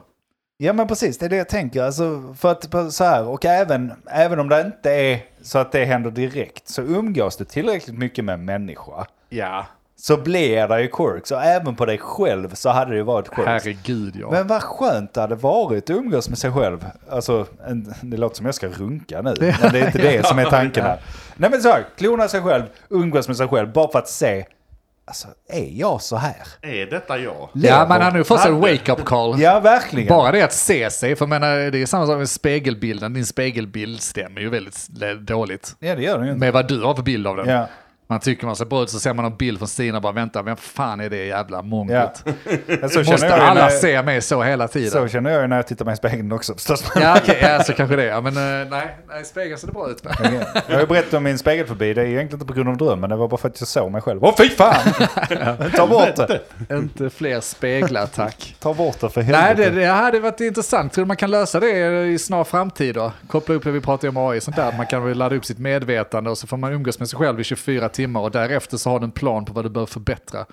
Speaker 2: Ja men precis, det är det jag tänker. Alltså, för att på- så här, och även, även om det inte är så att det händer direkt, så umgås du tillräckligt mycket med en människa,
Speaker 4: Ja.
Speaker 2: så blir det ju quirks. Och även på dig själv så hade det ju varit quirks.
Speaker 4: Herregud ja.
Speaker 2: Men vad skönt det hade varit att umgås med sig själv. Alltså, en, det låter som jag ska runka nu, men det är inte det som är tanken här. Nej men så här, klona sig själv, umgås med sig själv, bara för att se, alltså är jag så här?
Speaker 1: Är detta jag?
Speaker 4: ja, man hade nog fått en
Speaker 1: Hade-
Speaker 4: wake-up call.
Speaker 2: Ja, verkligen.
Speaker 4: Bara det att se sig, för jag menar, det är samma sak med spegelbilden. Din spegelbild stämmer ju väldigt dåligt
Speaker 2: Ja, det gör den ju inte.
Speaker 4: med vad du har för bild av den.
Speaker 2: Ja.
Speaker 4: Man tycker man ser bra ut, så ser man en bild från Stina och bara vänta, vem fan är det jävla mongot?
Speaker 2: Ja. Men så
Speaker 4: Måste
Speaker 2: känner jag ju
Speaker 4: alla
Speaker 2: när-
Speaker 4: se mig så hela tiden?
Speaker 2: Så känner jag ju när jag tittar mig i spegeln också förstås.
Speaker 4: Ja, okej, ja, så kanske det. Ja, men eh, nej, nej, spegeln ser det bra ut med.
Speaker 2: Jag har ju berättat om min spegelfobi, det är egentligen inte på grund av drömmen, det var bara för att jag såg mig själv. Åh fy fan! Ta bort det!
Speaker 4: Inte fler speglar, tack.
Speaker 2: Ta bort det för
Speaker 4: Nej,
Speaker 2: helvete.
Speaker 4: det, det hade varit intressant. Tror du man kan lösa det i snar framtid då? Koppla upp det vi pratade om AI, sånt där. att Man kan väl ladda upp sitt medvetande och så får man umgås med sig själv i 24 timmar och därefter så har du en plan på vad du bör förbättra.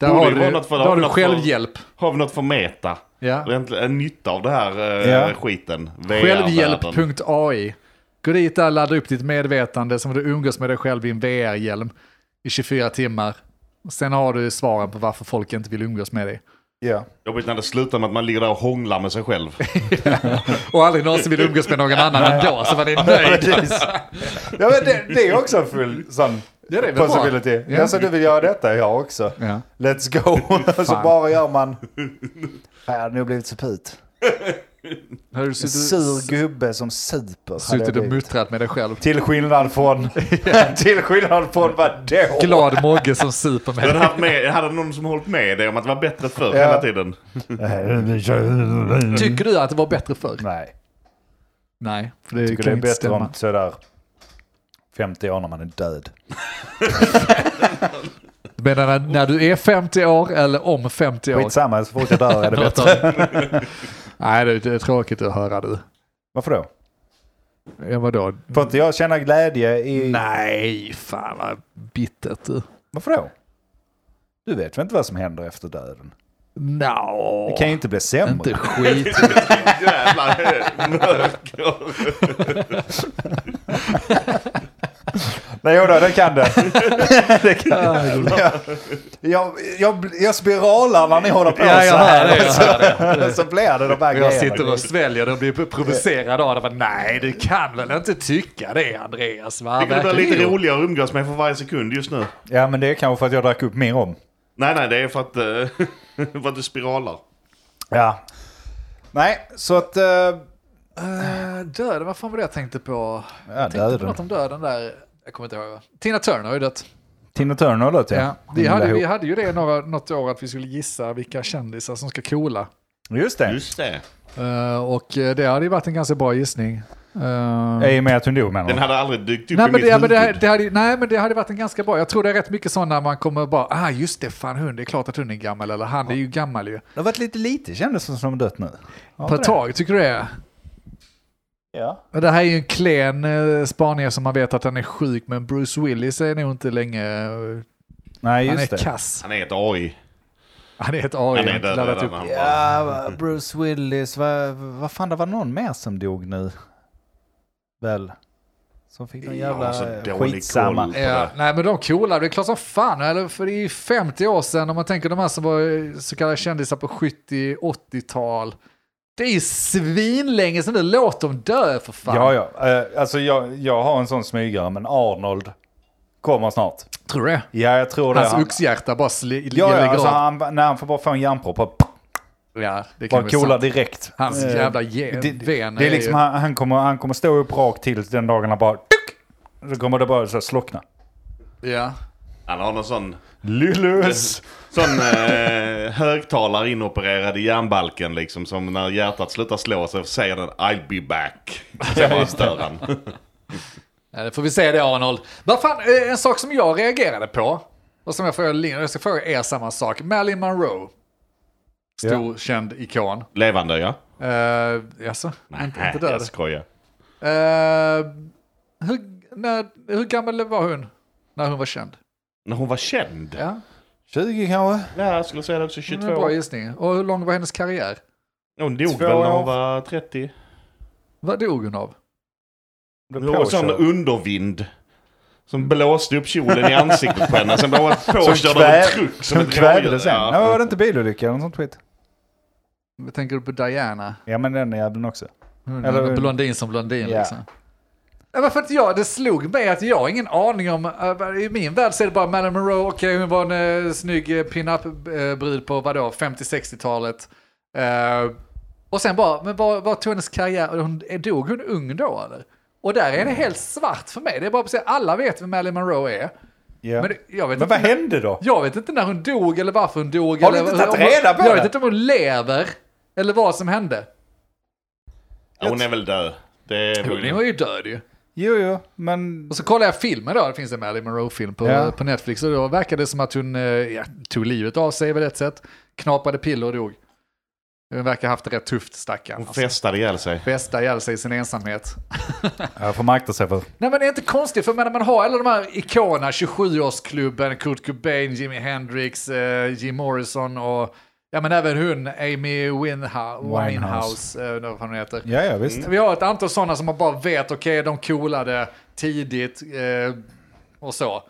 Speaker 4: Där
Speaker 1: Borde
Speaker 4: har
Speaker 1: ju
Speaker 4: du,
Speaker 1: vara något för-
Speaker 4: där har du
Speaker 1: något för-
Speaker 4: självhjälp.
Speaker 1: Har vi något för meta?
Speaker 4: Ja.
Speaker 1: Egentligen En nytta av det här eh,
Speaker 2: Ja.
Speaker 1: skiten. VR-världen.
Speaker 4: Självhjälp.ai. Gå dit där, ladda upp ditt medvetande som du umgås med dig själv i en VR-hjälm i 24 timmar. Och sen har du svaren på varför folk inte vill umgås med dig.
Speaker 2: Ja.
Speaker 1: Jobbigt när det slutar med att man ligger där och hånglar med sig själv.
Speaker 4: Och aldrig någonsin vill umgås med någon annan ändå, så man är nöjd.
Speaker 2: Precis. ja men det, det är också en full sån
Speaker 4: Ja, det är väl bra.
Speaker 2: possibility.
Speaker 4: Ja.
Speaker 2: Alltså du vill göra detta, jag också.
Speaker 4: Ja.
Speaker 2: Let's go! Och så
Speaker 4: Fan.
Speaker 2: bara gör man... Fan, jag hade nog blivit så put.
Speaker 4: Har du
Speaker 2: En sur gubbe som super. hade jag
Speaker 4: suttit och
Speaker 2: blivit.
Speaker 4: muttrat med dig själv?
Speaker 2: Till skillnad från... till skillnad från vadå?
Speaker 4: Glad Mogge som super med
Speaker 1: Jag hade,
Speaker 4: dig.
Speaker 1: haft med, jag hade någon som hållit med dig om att det var bättre förr
Speaker 2: Ja.
Speaker 1: hela tiden.
Speaker 4: Tycker du att det var bättre förr?
Speaker 2: Nej.
Speaker 4: Nej, för det
Speaker 2: Tycker
Speaker 4: kan
Speaker 2: det är
Speaker 4: inte
Speaker 2: bättre
Speaker 4: stämma.
Speaker 2: om sådär 50 år när man är död.
Speaker 4: Menar när, när du är 50 år eller om 50 år?
Speaker 2: Skitsamma, så fort jag dör är det bättre.
Speaker 4: Nej, det, det är tråkigt att höra du.
Speaker 2: Varför då?
Speaker 4: Ja, vadå?
Speaker 2: Får inte jag känna glädje i...
Speaker 4: Nej, fan vad bittert du.
Speaker 2: Varför då? Du vet väl inte vad som händer efter döden?
Speaker 4: No.
Speaker 2: Det kan ju inte bli sämre.
Speaker 4: inte skit.
Speaker 1: Jävlar, mörker.
Speaker 2: Nej, jodå, det kan det. det kan det. Jag, jag, jag, jag spiralar när ni håller på
Speaker 4: Ja,
Speaker 2: så
Speaker 4: jag hör det,
Speaker 2: här.
Speaker 4: jag hör
Speaker 2: så, så blir det de här
Speaker 4: Jag
Speaker 2: grejerna.
Speaker 4: sitter och sväljer det och blir provocerad av det. Men Nej, du kan väl inte tycka det Andreas? Va?
Speaker 1: Det blir
Speaker 4: Verkligen.
Speaker 1: lite roligare att umgås med för varje sekund just nu.
Speaker 2: Ja, men det är kanske för att jag drack upp mer om.
Speaker 1: Nej, nej, det är för att, eh, för att du spiralar.
Speaker 2: Ja. Nej, så att... eh,
Speaker 4: Eh, döden, vad fan var det jag tänkte på? Jag
Speaker 2: ja,
Speaker 4: tänkte på
Speaker 2: döden.
Speaker 4: något om döden där. Jag kommer inte ihåg. va? Tina Turner har ju dött.
Speaker 2: Tina Turner låt
Speaker 4: Ja. Vi, hade, vi hade ju det några, något år att vi skulle gissa vilka kändisar som ska coola.
Speaker 2: Just det.
Speaker 1: Just det.
Speaker 4: Eh, och eh, det hade ju varit en ganska bra gissning. Eh,
Speaker 2: I och med att hon dog menar
Speaker 1: Den
Speaker 2: du?
Speaker 1: hade aldrig dykt upp
Speaker 4: Nej
Speaker 1: i
Speaker 4: men,
Speaker 1: mitt
Speaker 4: det, ja, men det,
Speaker 1: huvud.
Speaker 4: det hade, ju- nej men det hade varit en ganska bra, jag tror det är rätt mycket sådana man kommer bara, ah just det, fan hon, det är klart att hon är gammal, eller han är ju gammal ju.
Speaker 2: Det har varit lite lite kändes som som hon dött nu. Har inte
Speaker 4: På ett
Speaker 2: det?
Speaker 4: tag, tycker du det?
Speaker 2: Ja.
Speaker 4: Och Det här är ju en klen eh, spaning som man vet att han är sjuk, men Bruce Willis är nog inte länge, eh,
Speaker 2: Nej,
Speaker 4: han
Speaker 2: just
Speaker 4: är
Speaker 2: det.
Speaker 4: kass.
Speaker 1: Han är ett AI.
Speaker 4: Han är ett AI,
Speaker 1: Han är
Speaker 4: inte
Speaker 1: död
Speaker 4: laddat
Speaker 1: redan.
Speaker 4: upp.
Speaker 1: Han bara,
Speaker 2: Ja, Bruce Willis, vad va fan det var någon mer som dog nu? Väl? Som fick någon
Speaker 1: Ja,
Speaker 2: jävla
Speaker 1: så
Speaker 2: eh,
Speaker 1: dålig
Speaker 2: skitsamma.
Speaker 1: koll.
Speaker 4: Ja, nej men de coola, det är klart som fan, eller, för det är ju 50 år sedan om man tänker de här som var eh, så kallade kändisar på 70-80-tal. Det är ju svinlänge sedan nu, låt dem dö för fan.
Speaker 2: Ja, ja. Eh, Alltså jag, jag har en sån smygare, men Arnold kommer snart.
Speaker 4: Tror du det?
Speaker 2: Ja, jag tror det.
Speaker 4: Hans
Speaker 2: Han-
Speaker 4: oxhjärta bara sli-
Speaker 2: ja, ja,
Speaker 4: ligger
Speaker 2: alltså,
Speaker 4: av.
Speaker 2: han, när han får bara få en järnpropp, bara
Speaker 4: Ja, det kan
Speaker 2: Bara
Speaker 4: vara
Speaker 2: coola
Speaker 4: sant.
Speaker 2: direkt.
Speaker 4: Hans
Speaker 2: Eh,
Speaker 4: jävla ge-
Speaker 2: det,
Speaker 4: vener
Speaker 2: det är
Speaker 4: är
Speaker 2: liksom,
Speaker 4: ju-
Speaker 2: han, han, kommer, han kommer stå upp rakt till den dagen han bara... Tuck, så kommer det bara så här slockna.
Speaker 4: Ja.
Speaker 1: Han har någon sån,
Speaker 2: Lillus!
Speaker 1: sån eh, högtalare inopererad i hjärnbalken liksom. Som när hjärtat slutar slå så säger den I'll be back. Så bara stör han.
Speaker 4: Ja, det får vi se det Arnold. Vad fan, eh, en sak som jag reagerade på, och som jag frågade Lin- jag ska fråga er samma sak. Marilyn Monroe, stor känd ikon.
Speaker 1: Levande ja.
Speaker 4: Uh, alltså, inte, inte död.
Speaker 1: jag skojar.
Speaker 4: Eh, hur, när, hur gammal var hon när hon var känd?
Speaker 1: När hon var känd?
Speaker 4: Ja,
Speaker 2: 20 kanske?
Speaker 1: Ja, jag skulle säga det också.
Speaker 4: det
Speaker 1: 22
Speaker 4: är en bra
Speaker 1: år.
Speaker 4: gissning. Och hur lång var hennes karriär?
Speaker 1: Hon dog
Speaker 2: Två
Speaker 1: väl när hon
Speaker 2: år.
Speaker 1: var 30?
Speaker 4: Vad dog hon av?
Speaker 2: Blev
Speaker 1: Det var en sån
Speaker 2: påkörd.
Speaker 1: undervind. Som blåste upp kjolen i ansiktet på henne. Sen blev hon påkörd
Speaker 2: Som
Speaker 1: av en
Speaker 2: kväv-
Speaker 1: truck.
Speaker 2: Som
Speaker 1: ett rådjur.
Speaker 2: kvävde sen. Ja.
Speaker 1: Ja.
Speaker 2: var det inte bilolycka eller något sånt skit?
Speaker 4: Tänker du på Diana?
Speaker 2: Ja, men den jäveln också.
Speaker 4: Hon
Speaker 2: Eller-
Speaker 4: Eller, blondin som blondin
Speaker 2: Ja.
Speaker 4: liksom. Ja, men för att jag, det slog mig att jag har ingen aning om, eh, i min värld så är det bara Marilyn Monroe, okej hon var en eh, snygg eh, pin-up-brud på vadå, 50-60-talet. Eh, och sen bara, men vad, vad tog hennes karriär, hon, eh, dog hon ung då eller? Och där är det
Speaker 2: Mm.
Speaker 4: helt svart för mig, det är bara precis, alla vet vem Marilyn Monroe är.
Speaker 2: Ja.
Speaker 4: Men,
Speaker 2: Men,
Speaker 4: det- jag vet
Speaker 2: vad
Speaker 4: inte,
Speaker 2: hände då?
Speaker 4: jag vet inte när hon dog eller varför hon dog.
Speaker 2: Har du
Speaker 4: eller,
Speaker 2: inte tagit
Speaker 4: om hon-
Speaker 2: reda på
Speaker 4: Jag
Speaker 2: det?
Speaker 4: vet inte om hon lever, eller vad som hände.
Speaker 1: Ja, hon är väl död. Det är
Speaker 4: Hon
Speaker 1: väl...
Speaker 4: var ju död ju.
Speaker 2: Jo, jo, men...
Speaker 4: Och så kollade jag filmen då, det finns en Marilyn Monroe-film på,
Speaker 2: Ja.
Speaker 4: på Netflix och då verkade det som att hon eh, ja, tog livet av sig på ett sätt, knapade piller och dog. Hon verkar ha haft det rätt tufft stackarn. Alltså,
Speaker 1: Hon festade ihjäl sig.
Speaker 4: Bästa ihjäl sig i sin ensamhet.
Speaker 2: Jag får man akta sig för.
Speaker 4: Nej men det är inte konstigt, för jag menar, man har alla de här ikonerna, 27-årsklubben, Kurt Cobain, Jimi Hendrix, eh, Jim Morrison och ja men även hon, Amy Winha- Winehouse,
Speaker 2: Winehouse.
Speaker 4: eh, vad fan hon heter.
Speaker 2: Ja, ja, visst.
Speaker 4: Vi har ett antal sådana som man bara vet, okej, de coolade tidigt eh, och så.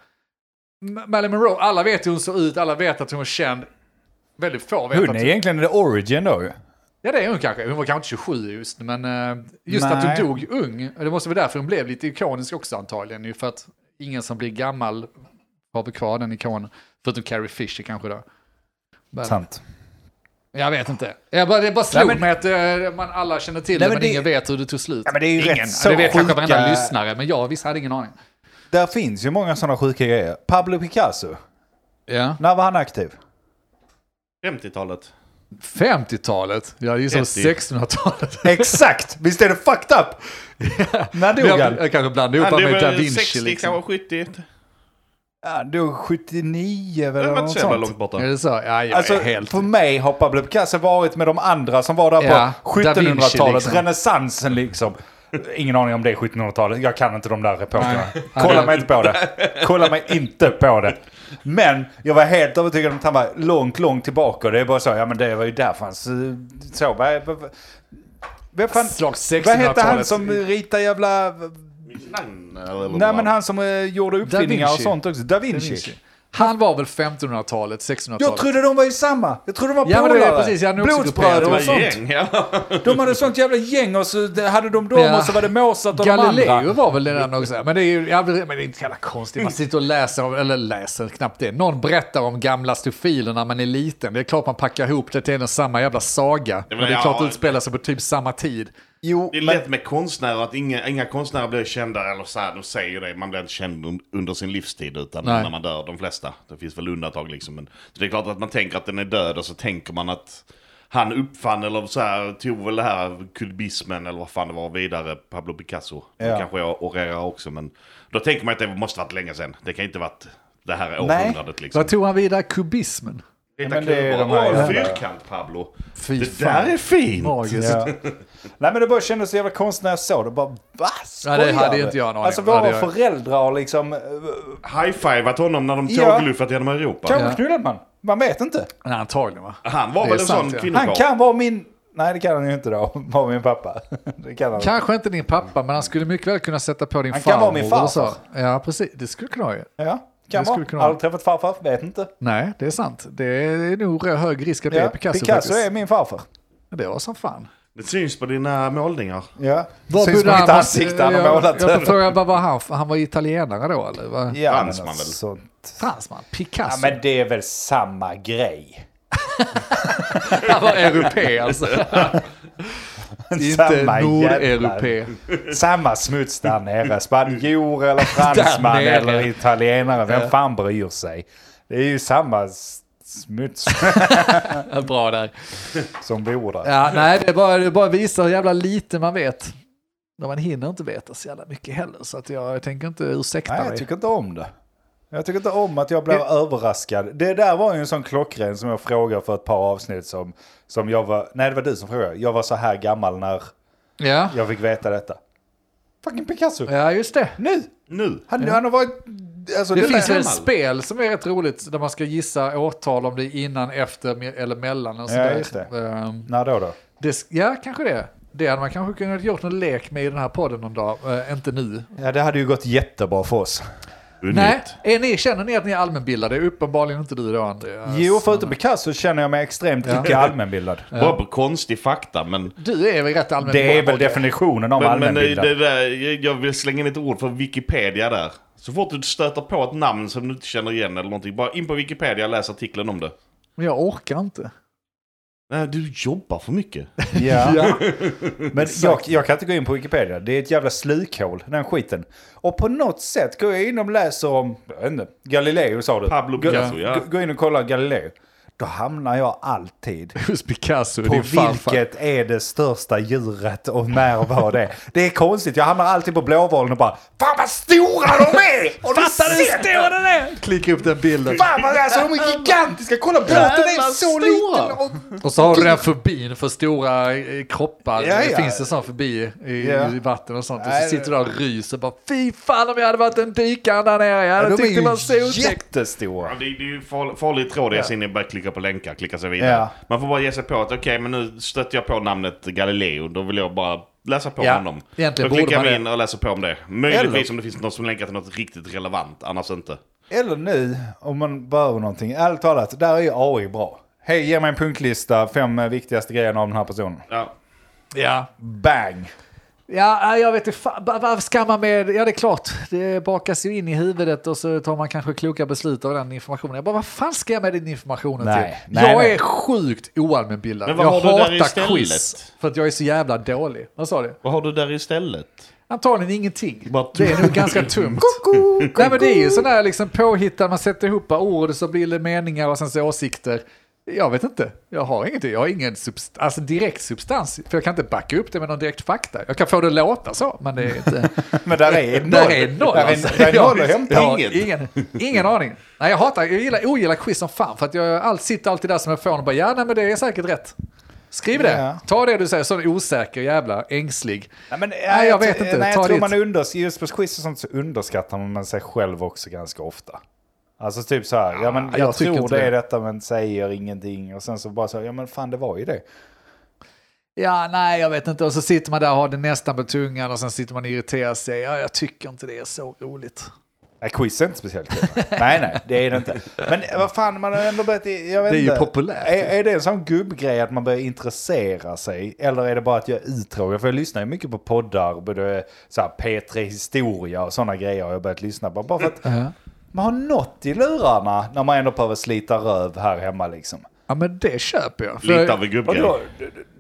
Speaker 4: M- Marilyn Monroe, alla vet hur hon såg ut, alla vet att hon var känd. Väldigt få vet
Speaker 2: Hon
Speaker 4: att...
Speaker 2: är egentligen the origin då ju.
Speaker 4: Ja, det är hon kanske. Hon var kanske inte 27 just, men eh, just
Speaker 2: Nej.
Speaker 4: att hon dog ung, det måste vara därför hon blev lite ikonisk också antagligen, ju för att ingen som blir gammal har väl kvar den ikonen, förutom Carrie Fisher kanske då. Men,
Speaker 2: Sant.
Speaker 4: Jag vet inte. Jag bara, det bara slog
Speaker 2: Nej, men-
Speaker 4: mig att eh, man alla känner till
Speaker 2: Nej,
Speaker 4: det,
Speaker 2: men
Speaker 4: men
Speaker 2: det-
Speaker 4: ingen vet hur det tog slut.
Speaker 2: Ja, men det är ju
Speaker 4: Ingen.
Speaker 2: rätt
Speaker 4: Ja,
Speaker 2: så
Speaker 4: det vet kanske varenda
Speaker 2: sjuka-
Speaker 4: lyssnare, men jag visst hade ingen aning.
Speaker 2: Där finns ju många sådana sjuka grejer. Pablo Picasso,
Speaker 4: Ja.
Speaker 2: när var han aktiv?
Speaker 1: 50-talet.
Speaker 4: 50-talet? Jag gissar
Speaker 1: 30.
Speaker 4: 1600-talet.
Speaker 2: Exakt! Visst är det fucked up? När dog
Speaker 4: Jag,
Speaker 2: han?
Speaker 4: jag kanske blandade ihop
Speaker 1: Han
Speaker 4: han
Speaker 1: blev
Speaker 4: med Da
Speaker 1: väl
Speaker 4: Vinci.
Speaker 1: 60,
Speaker 4: liksom.
Speaker 1: kanske 70.
Speaker 2: Han dog 79
Speaker 1: Det var
Speaker 2: eller
Speaker 1: inte
Speaker 2: något
Speaker 1: så jävla
Speaker 2: sånt.
Speaker 1: långt borta.
Speaker 4: Är det så? Ja, jag
Speaker 2: Alltså,
Speaker 4: är helt...
Speaker 2: för mig har Pablo Picasso varit med de andra som var där
Speaker 4: Ja,
Speaker 2: på
Speaker 4: Da Vinci
Speaker 2: 1700-talet,
Speaker 4: liksom.
Speaker 2: renässansen liksom. Ingen aning om det är 1700-talet, jag kan inte de där reportrarna. Kolla
Speaker 4: Nej.
Speaker 2: mig inte på det. Kolla mig inte på det. Men jag var helt övertygad om att han var långt, långt tillbaka. Det är bara så, ja men det var ju därför han... Så, så, vad, vad, vad, fan,
Speaker 4: Slags
Speaker 2: vad hette han
Speaker 4: 1600-talet.
Speaker 2: som ritade jävla... Nej men han som eh, gjorde uppfinningar och
Speaker 4: Vinci.
Speaker 2: sånt också. Da
Speaker 4: Da
Speaker 2: Vinci.
Speaker 4: Vinci. Han var väl 1500-talet, 1600-talet?
Speaker 2: Jag trodde de var ju samma. Jag trodde de var
Speaker 4: Ja, men det är
Speaker 2: polare.
Speaker 4: precis. Jag hade nog också grupperat.
Speaker 2: Blodsbröder och sånt.
Speaker 1: gäng, ja.
Speaker 2: De hade sånt jävla gäng och så hade de dem
Speaker 4: Ja.
Speaker 2: och så var det Mozart och de
Speaker 4: Galileo
Speaker 2: andra.
Speaker 4: var väl den också. Men det är ju jag, men det är inte jävla konstigt. Man sitter och läser, om- eller läser knappt det. Någon berättar om gamla stofiler när man är liten. Det är klart man packar ihop det till en och samma jävla saga. Men det är
Speaker 1: ja,
Speaker 4: klart det utspelar sig på typ samma tid.
Speaker 2: Jo,
Speaker 1: Det är lätt med konstnärer att inga, inga konstnärer blir kända, eller så här, de säger ju det, man blir inte känd un- under sin livstid utan
Speaker 4: Nej.
Speaker 1: när man dör, de flesta. Det finns väl undantag liksom. Men, så det är klart att man tänker att den är död och så tänker man att han uppfann eller så här, tog väl det här kubismen eller vad fan det var vidare, Pablo Picasso.
Speaker 2: Ja.
Speaker 1: Det kanske jag orerar också men då tänker man att det måste varit länge sedan. Det kan inte varit det här
Speaker 2: Nej.
Speaker 1: århundradet liksom.
Speaker 4: Vad tog han vidare? Kubismen?
Speaker 1: Titta,
Speaker 2: men det är
Speaker 1: kubor.
Speaker 2: de här
Speaker 1: Åh,
Speaker 2: jävla-
Speaker 1: fyrkant Pablo!
Speaker 4: Fy
Speaker 1: det
Speaker 4: fan.
Speaker 1: där är fint!
Speaker 4: Magiskt.
Speaker 2: Ja. Nej men det bara kändes så jävla konstigt när jag såg det. Bara va? Skojar
Speaker 4: det hade
Speaker 2: du?"
Speaker 4: inte jag en aning
Speaker 2: Alltså
Speaker 4: om. Det hade
Speaker 2: våra
Speaker 4: jag-
Speaker 2: föräldrar har liksom... eh,
Speaker 1: High-fivat honom när de
Speaker 2: Ja.
Speaker 1: tågluffat genom Europa.
Speaker 2: Kanske
Speaker 4: Ja.
Speaker 2: knullade man. Man vet inte.
Speaker 4: Nej, antagligen va?
Speaker 1: Han var
Speaker 4: Det
Speaker 1: väl
Speaker 4: är
Speaker 1: en
Speaker 4: sant,
Speaker 1: sån
Speaker 4: ja.
Speaker 1: kvinnokarl?
Speaker 2: Han kan vara min... Nej det kan han ju inte då. Vara min pappa. Det kan han inte.
Speaker 4: Kanske inte din pappa, men han skulle mycket väl kunna sätta på din
Speaker 2: Han
Speaker 4: farmor.
Speaker 2: kan vara min
Speaker 4: och så.
Speaker 2: farfar.
Speaker 4: Ja, precis. Det skulle kunna vara ju.
Speaker 2: Ja, kan
Speaker 4: Det skulle
Speaker 2: vara.
Speaker 4: kunna vara.
Speaker 2: Aldrig träffat farfar, vet inte.
Speaker 4: Nej, det är sant. Det är nog hög risk att det
Speaker 2: Ja,
Speaker 4: är Picasso,
Speaker 2: Picasso
Speaker 4: faktiskt.
Speaker 2: är min farfar.
Speaker 4: Det var som fan.
Speaker 1: Det syns på dina målningar.
Speaker 2: Ja.
Speaker 4: Var
Speaker 2: Syns på
Speaker 4: bodde
Speaker 2: mitt
Speaker 4: han?
Speaker 2: ansikte han har
Speaker 4: Jag-
Speaker 2: målat.
Speaker 4: Jag frågar, vad var han? för- Han var italienare då eller? Vad?
Speaker 2: Ja, men alltså,
Speaker 1: Fransman väl?
Speaker 2: sånt.
Speaker 4: Fransman?
Speaker 2: Ja,
Speaker 4: Picasso?
Speaker 2: men det är väl samma grej.
Speaker 4: Han var europé alltså. Inte
Speaker 2: Samma jävla-
Speaker 4: nordeuropé.
Speaker 2: Samma smuts där nere. Spanjor eller fransman
Speaker 4: nere.
Speaker 2: eller italienare. Vem fan bryr sig? Det är ju samma s- smuts
Speaker 4: Ja, Bra där.
Speaker 2: som bor där.
Speaker 4: Ja, nej, det bara, det bara visar hur jävla lite man vet. När man hinner inte veta så jävla mycket heller. Så att jag, jag tänker inte ursäkta
Speaker 2: Nej,
Speaker 4: mig.
Speaker 2: jag tycker inte om det. Jag tycker inte om att jag blir överraskad. Det där var ju en sån klockren som jag frågade för ett par avsnitt som, som jag var... Nej, det var du som frågade. Jag var så här gammal när
Speaker 4: Ja.
Speaker 2: jag fick veta detta. Fucking Picasso.
Speaker 4: ja, just det.
Speaker 2: Nu!
Speaker 1: Nu?
Speaker 2: Han, han har varit... Alltså,
Speaker 4: Det,
Speaker 2: detta
Speaker 4: finns
Speaker 2: är
Speaker 4: väl ett
Speaker 2: gammal.
Speaker 4: spel som är rätt roligt där man ska gissa årtal om det är innan, efter me- eller mellan. Och sådär.
Speaker 2: just det.
Speaker 4: Ehm,
Speaker 2: När då då?
Speaker 4: det sk- ja, kanske det. Det hade man kanske kunnat gjort någon lek med i den här podden någon dag. Eh, inte nu.
Speaker 2: Ja, det hade ju gått jättebra för oss.
Speaker 4: Nej,
Speaker 1: Unikt.
Speaker 4: är ni, känner ni att ni är allmänbildade? Uppenbarligen inte du då Andreas.
Speaker 2: Jo, förutom Picasso känner jag mig extremt
Speaker 4: Ja.
Speaker 2: icke allmänbildad.
Speaker 1: Bara på konstig fakta, men...
Speaker 4: Du är väl rätt allmänbildad?
Speaker 2: Det är väl
Speaker 4: Roger?
Speaker 2: definitionen av
Speaker 1: Men, men det,
Speaker 2: allmänbildad.
Speaker 1: det där, jag- jag vill slänga in ett ord för Wikipedia där. Så fort du stöter på ett namn som du inte känner igen eller någonting, bara in på Wikipedia och läs artikeln om det.
Speaker 4: Men jag orkar inte.
Speaker 1: Nej, du jobbar för mycket.
Speaker 2: Ja. Men jag, jag kan inte gå in på Wikipedia. Det är ett jävla slukhål, den skiten. Och på något sätt går jag in och läser om, jag vet inte, Galileo sa du.
Speaker 1: Pablo Picasso, ja.
Speaker 2: Gå- Gå in och kolla Galileo. Då hamnar jag alltid
Speaker 4: Hos Picasso,
Speaker 2: på
Speaker 4: din farfar.
Speaker 2: vilket är det största djuret och när var det? Det är konstigt, jag hamnar alltid på blåvalen och bara Fan vad stora de är! Och Fattar du hur stora de är?
Speaker 4: Klicka upp den bilden.
Speaker 2: Fan vad alltså, de är gigantiska! Kolla båten är
Speaker 4: Jävla
Speaker 2: så
Speaker 4: stora.
Speaker 2: liten! Och
Speaker 4: Och så har du den här fobin för stora eh, kroppar.
Speaker 2: Ja,
Speaker 4: Det
Speaker 2: ja.
Speaker 4: finns en sån fobi i,
Speaker 2: Ja.
Speaker 4: i vatten och sånt. Och
Speaker 2: Nej,
Speaker 4: så
Speaker 2: det-
Speaker 4: sitter du där och ryser bara fy fan om jag hade varit en dykare där nere. Jag hade
Speaker 2: Ja,
Speaker 4: tyckt det var så otäckt.
Speaker 2: jättestora.
Speaker 1: Ja, Det, det är ju farlig, farlig tråd det är sen när jag börjar klicka på länkar, klicka sig vidare.
Speaker 2: Ja.
Speaker 1: Man får bara ge sig på att okej, men nu stöter jag på namnet Galileo, då vill jag bara läsa på
Speaker 2: Ja,
Speaker 1: om dem.
Speaker 4: egentligen
Speaker 1: då
Speaker 4: borde
Speaker 1: klickar
Speaker 4: man
Speaker 1: jag
Speaker 4: det.
Speaker 1: in och läser på om det. Möjligtvis
Speaker 2: Eller-
Speaker 1: om det finns något som länkar till något riktigt relevant, annars inte.
Speaker 2: Eller nu, om man behöver någonting. Ärligt talat, där är AI bra. Hej, ge mig en punktlista, fem eh, viktigaste grejerna om den här personen.
Speaker 1: Ja.
Speaker 4: Ja.
Speaker 2: Bang!
Speaker 4: ja, nej, jag vet inte. fa- va- Vad ska man med? Ja, det är klart. Det bakas ju in i huvudet och så tar man kanske kloka beslut av den informationen. Jag bara, vad fan ska jag med den informationen
Speaker 2: Nej,
Speaker 4: till?
Speaker 2: nej,
Speaker 4: jag
Speaker 2: nej.
Speaker 4: är sjukt oallmänbildad.
Speaker 1: Men vad
Speaker 4: jag
Speaker 1: har du där
Speaker 4: hatar
Speaker 1: istället?
Speaker 4: quiz. För att jag är så jävla dålig. Vad sa du?
Speaker 1: Vad har du där istället?
Speaker 4: Antagligen ingenting.
Speaker 1: Bara
Speaker 4: Det är nog ganska tumt. Nej men det är ju sån där liksom påhittad, man sätter ihop ord så blir det meningar och sen så åsikter. Jag vet inte, jag har ingenting, jag har ingen subst- alltså direkt substans. För jag kan inte backa upp det med någon direkt fakta. Jag kan få det att låta så, men det är inte...
Speaker 2: Men där är noll.
Speaker 4: Där är noll
Speaker 2: Där är,
Speaker 4: alltså.
Speaker 2: där är noll att hämta.
Speaker 4: Jag har
Speaker 1: Inget.
Speaker 4: ingen, ingen aning. Nej jag hatar, jag gillar, ogillar quiz som fan för att jag all, sitter alltid där som en fån och bara ja nej men det är säkert rätt. Skriv det,
Speaker 2: Ja.
Speaker 4: ta det du säger, sån osäker jävla ängslig.
Speaker 2: Nej, men,
Speaker 4: Nej, jag vet inte.
Speaker 2: Nej, jag
Speaker 4: Ta
Speaker 2: tror
Speaker 4: ditt.
Speaker 2: man underskattar, just på quiz och sånt så underskattar man sig själv också ganska ofta. Alltså typ så här, ja men jag,
Speaker 4: Ah, jag tycker
Speaker 2: tror
Speaker 4: inte
Speaker 2: det är
Speaker 4: det.
Speaker 2: detta men säger ingenting. Och sen så bara så här, ja men fan det var ju det.
Speaker 4: Ja, nej, jag vet inte. Och så sitter man där och har det nästan på tungan och sen sitter man och irriterar sig. Ja, jag tycker inte det är så roligt.
Speaker 2: Nej, quiz är inte speciellt kul. nej, nej, det är det inte. Men vad fan, man har ändå börjat... Jag vet
Speaker 4: Det är ju
Speaker 2: inte.
Speaker 4: populärt.
Speaker 2: Är, är det en sån gubbgrej att man börjar intressera sig? Eller är det bara att jag är uttråkad? För jag lyssnar ju mycket på poddar, både så här P3 Historia och sådana grejer. har Jag har börjat lyssna på bara för att man har något i lurarna när man ändå behöver slita röv här hemma liksom.
Speaker 4: Ja, men det köper jag. För-
Speaker 1: Lite av en
Speaker 2: Och då,
Speaker 1: gubbgrej.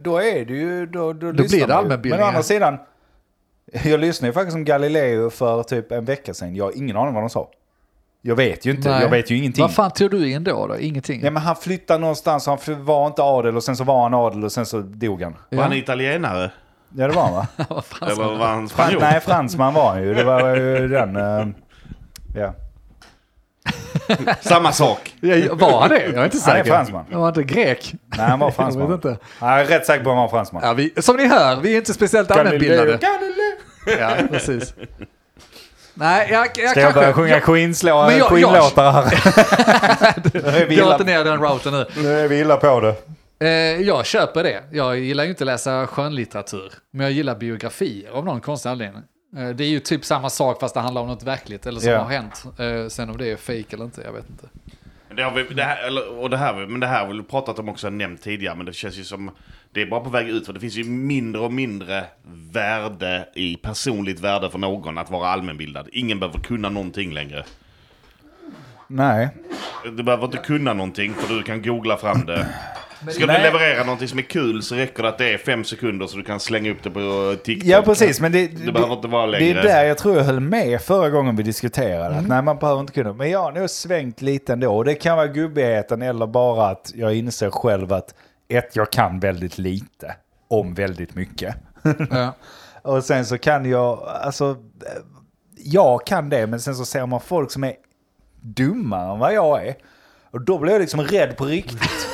Speaker 2: då är det ju... Då, då,
Speaker 4: Då blir det
Speaker 2: lyssnar man ju.
Speaker 4: allmänbildning,
Speaker 2: Men å andra
Speaker 4: ja.
Speaker 2: sidan, jag lyssnade ju faktiskt om Galileo för typ en vecka sedan. Jag har ingen aning vad de sa. Jag vet ju inte,
Speaker 4: Nej.
Speaker 2: jag vet ju ingenting.
Speaker 4: Vad fan tog du in då? då? Ingenting?
Speaker 2: Nej men han flyttade någonstans, han fly- var inte adel och sen så var han adel och sen så dog han.
Speaker 1: Var han italienare?
Speaker 2: Ja det var han va?
Speaker 4: Vad fan
Speaker 1: Eller
Speaker 4: ska-
Speaker 1: var han
Speaker 2: Fran-
Speaker 1: spanjor?
Speaker 2: Alltså, nej fransman var han ju, det var ju den... eh, ja.
Speaker 1: Samma sak.
Speaker 4: Ja, var han det? Jag är inte
Speaker 2: Han är
Speaker 4: säker.
Speaker 2: fransman.
Speaker 4: Han var inte grek.
Speaker 2: Nej han var
Speaker 4: Jag
Speaker 2: fransman.
Speaker 4: vet inte.
Speaker 2: Jag är rätt säker på att han var fransman.
Speaker 4: Ja, vi, som ni hör, vi är inte speciellt allmänbildade. Ja, precis. Nej, jag, jag
Speaker 2: Ska
Speaker 4: kanske...
Speaker 2: jag börja sjunga
Speaker 4: jag,
Speaker 2: Queen-slå-
Speaker 4: Men jag-
Speaker 2: Queen-låtar här? nu, är vi
Speaker 4: jag
Speaker 2: illa,
Speaker 4: har inte ner den routen nu.
Speaker 2: nu är vi illa på det.
Speaker 4: Eh, jag köper det. Jag gillar ju inte att läsa skönlitteratur. Men jag gillar biografier av någon konstig anledning. Eh, det är ju typ samma sak fast det handlar om något verkligt eller som
Speaker 2: Ja.
Speaker 4: har hänt. Eh, sen om det är fake eller inte, jag vet inte.
Speaker 1: Men det har vi, det här, eller, och det här, men det här har vi pratat om också, nämnt tidigare, men det känns ju som... Det är bara på väg ut, för det finns ju mindre och mindre värde i personligt värde för någon att vara allmänbildad. Ingen behöver kunna någonting längre.
Speaker 2: Nej.
Speaker 1: Du behöver inte kunna någonting, för du kan googla fram det. Ska
Speaker 2: Nej.
Speaker 1: du leverera någonting som är kul så räcker det att det är fem sekunder så du kan slänga upp det på TikTok.
Speaker 2: Ja, precis. Men det,
Speaker 1: Du behöver inte vara
Speaker 2: Det
Speaker 1: längre.
Speaker 2: är där jag tror jag höll med förra gången vi diskuterade. Att nej, man behöver inte kunna. Men jag har nog svängt lite ändå. Och Det kan vara gubbigheten eller bara att jag inser själv att ett, jag kan väldigt lite om väldigt mycket.
Speaker 4: Ja.
Speaker 2: Och sen så kan jag, alltså, eh, jag kan det, men sen så ser man folk som är dummare än vad jag är. Och då blir jag liksom rädd på riktigt.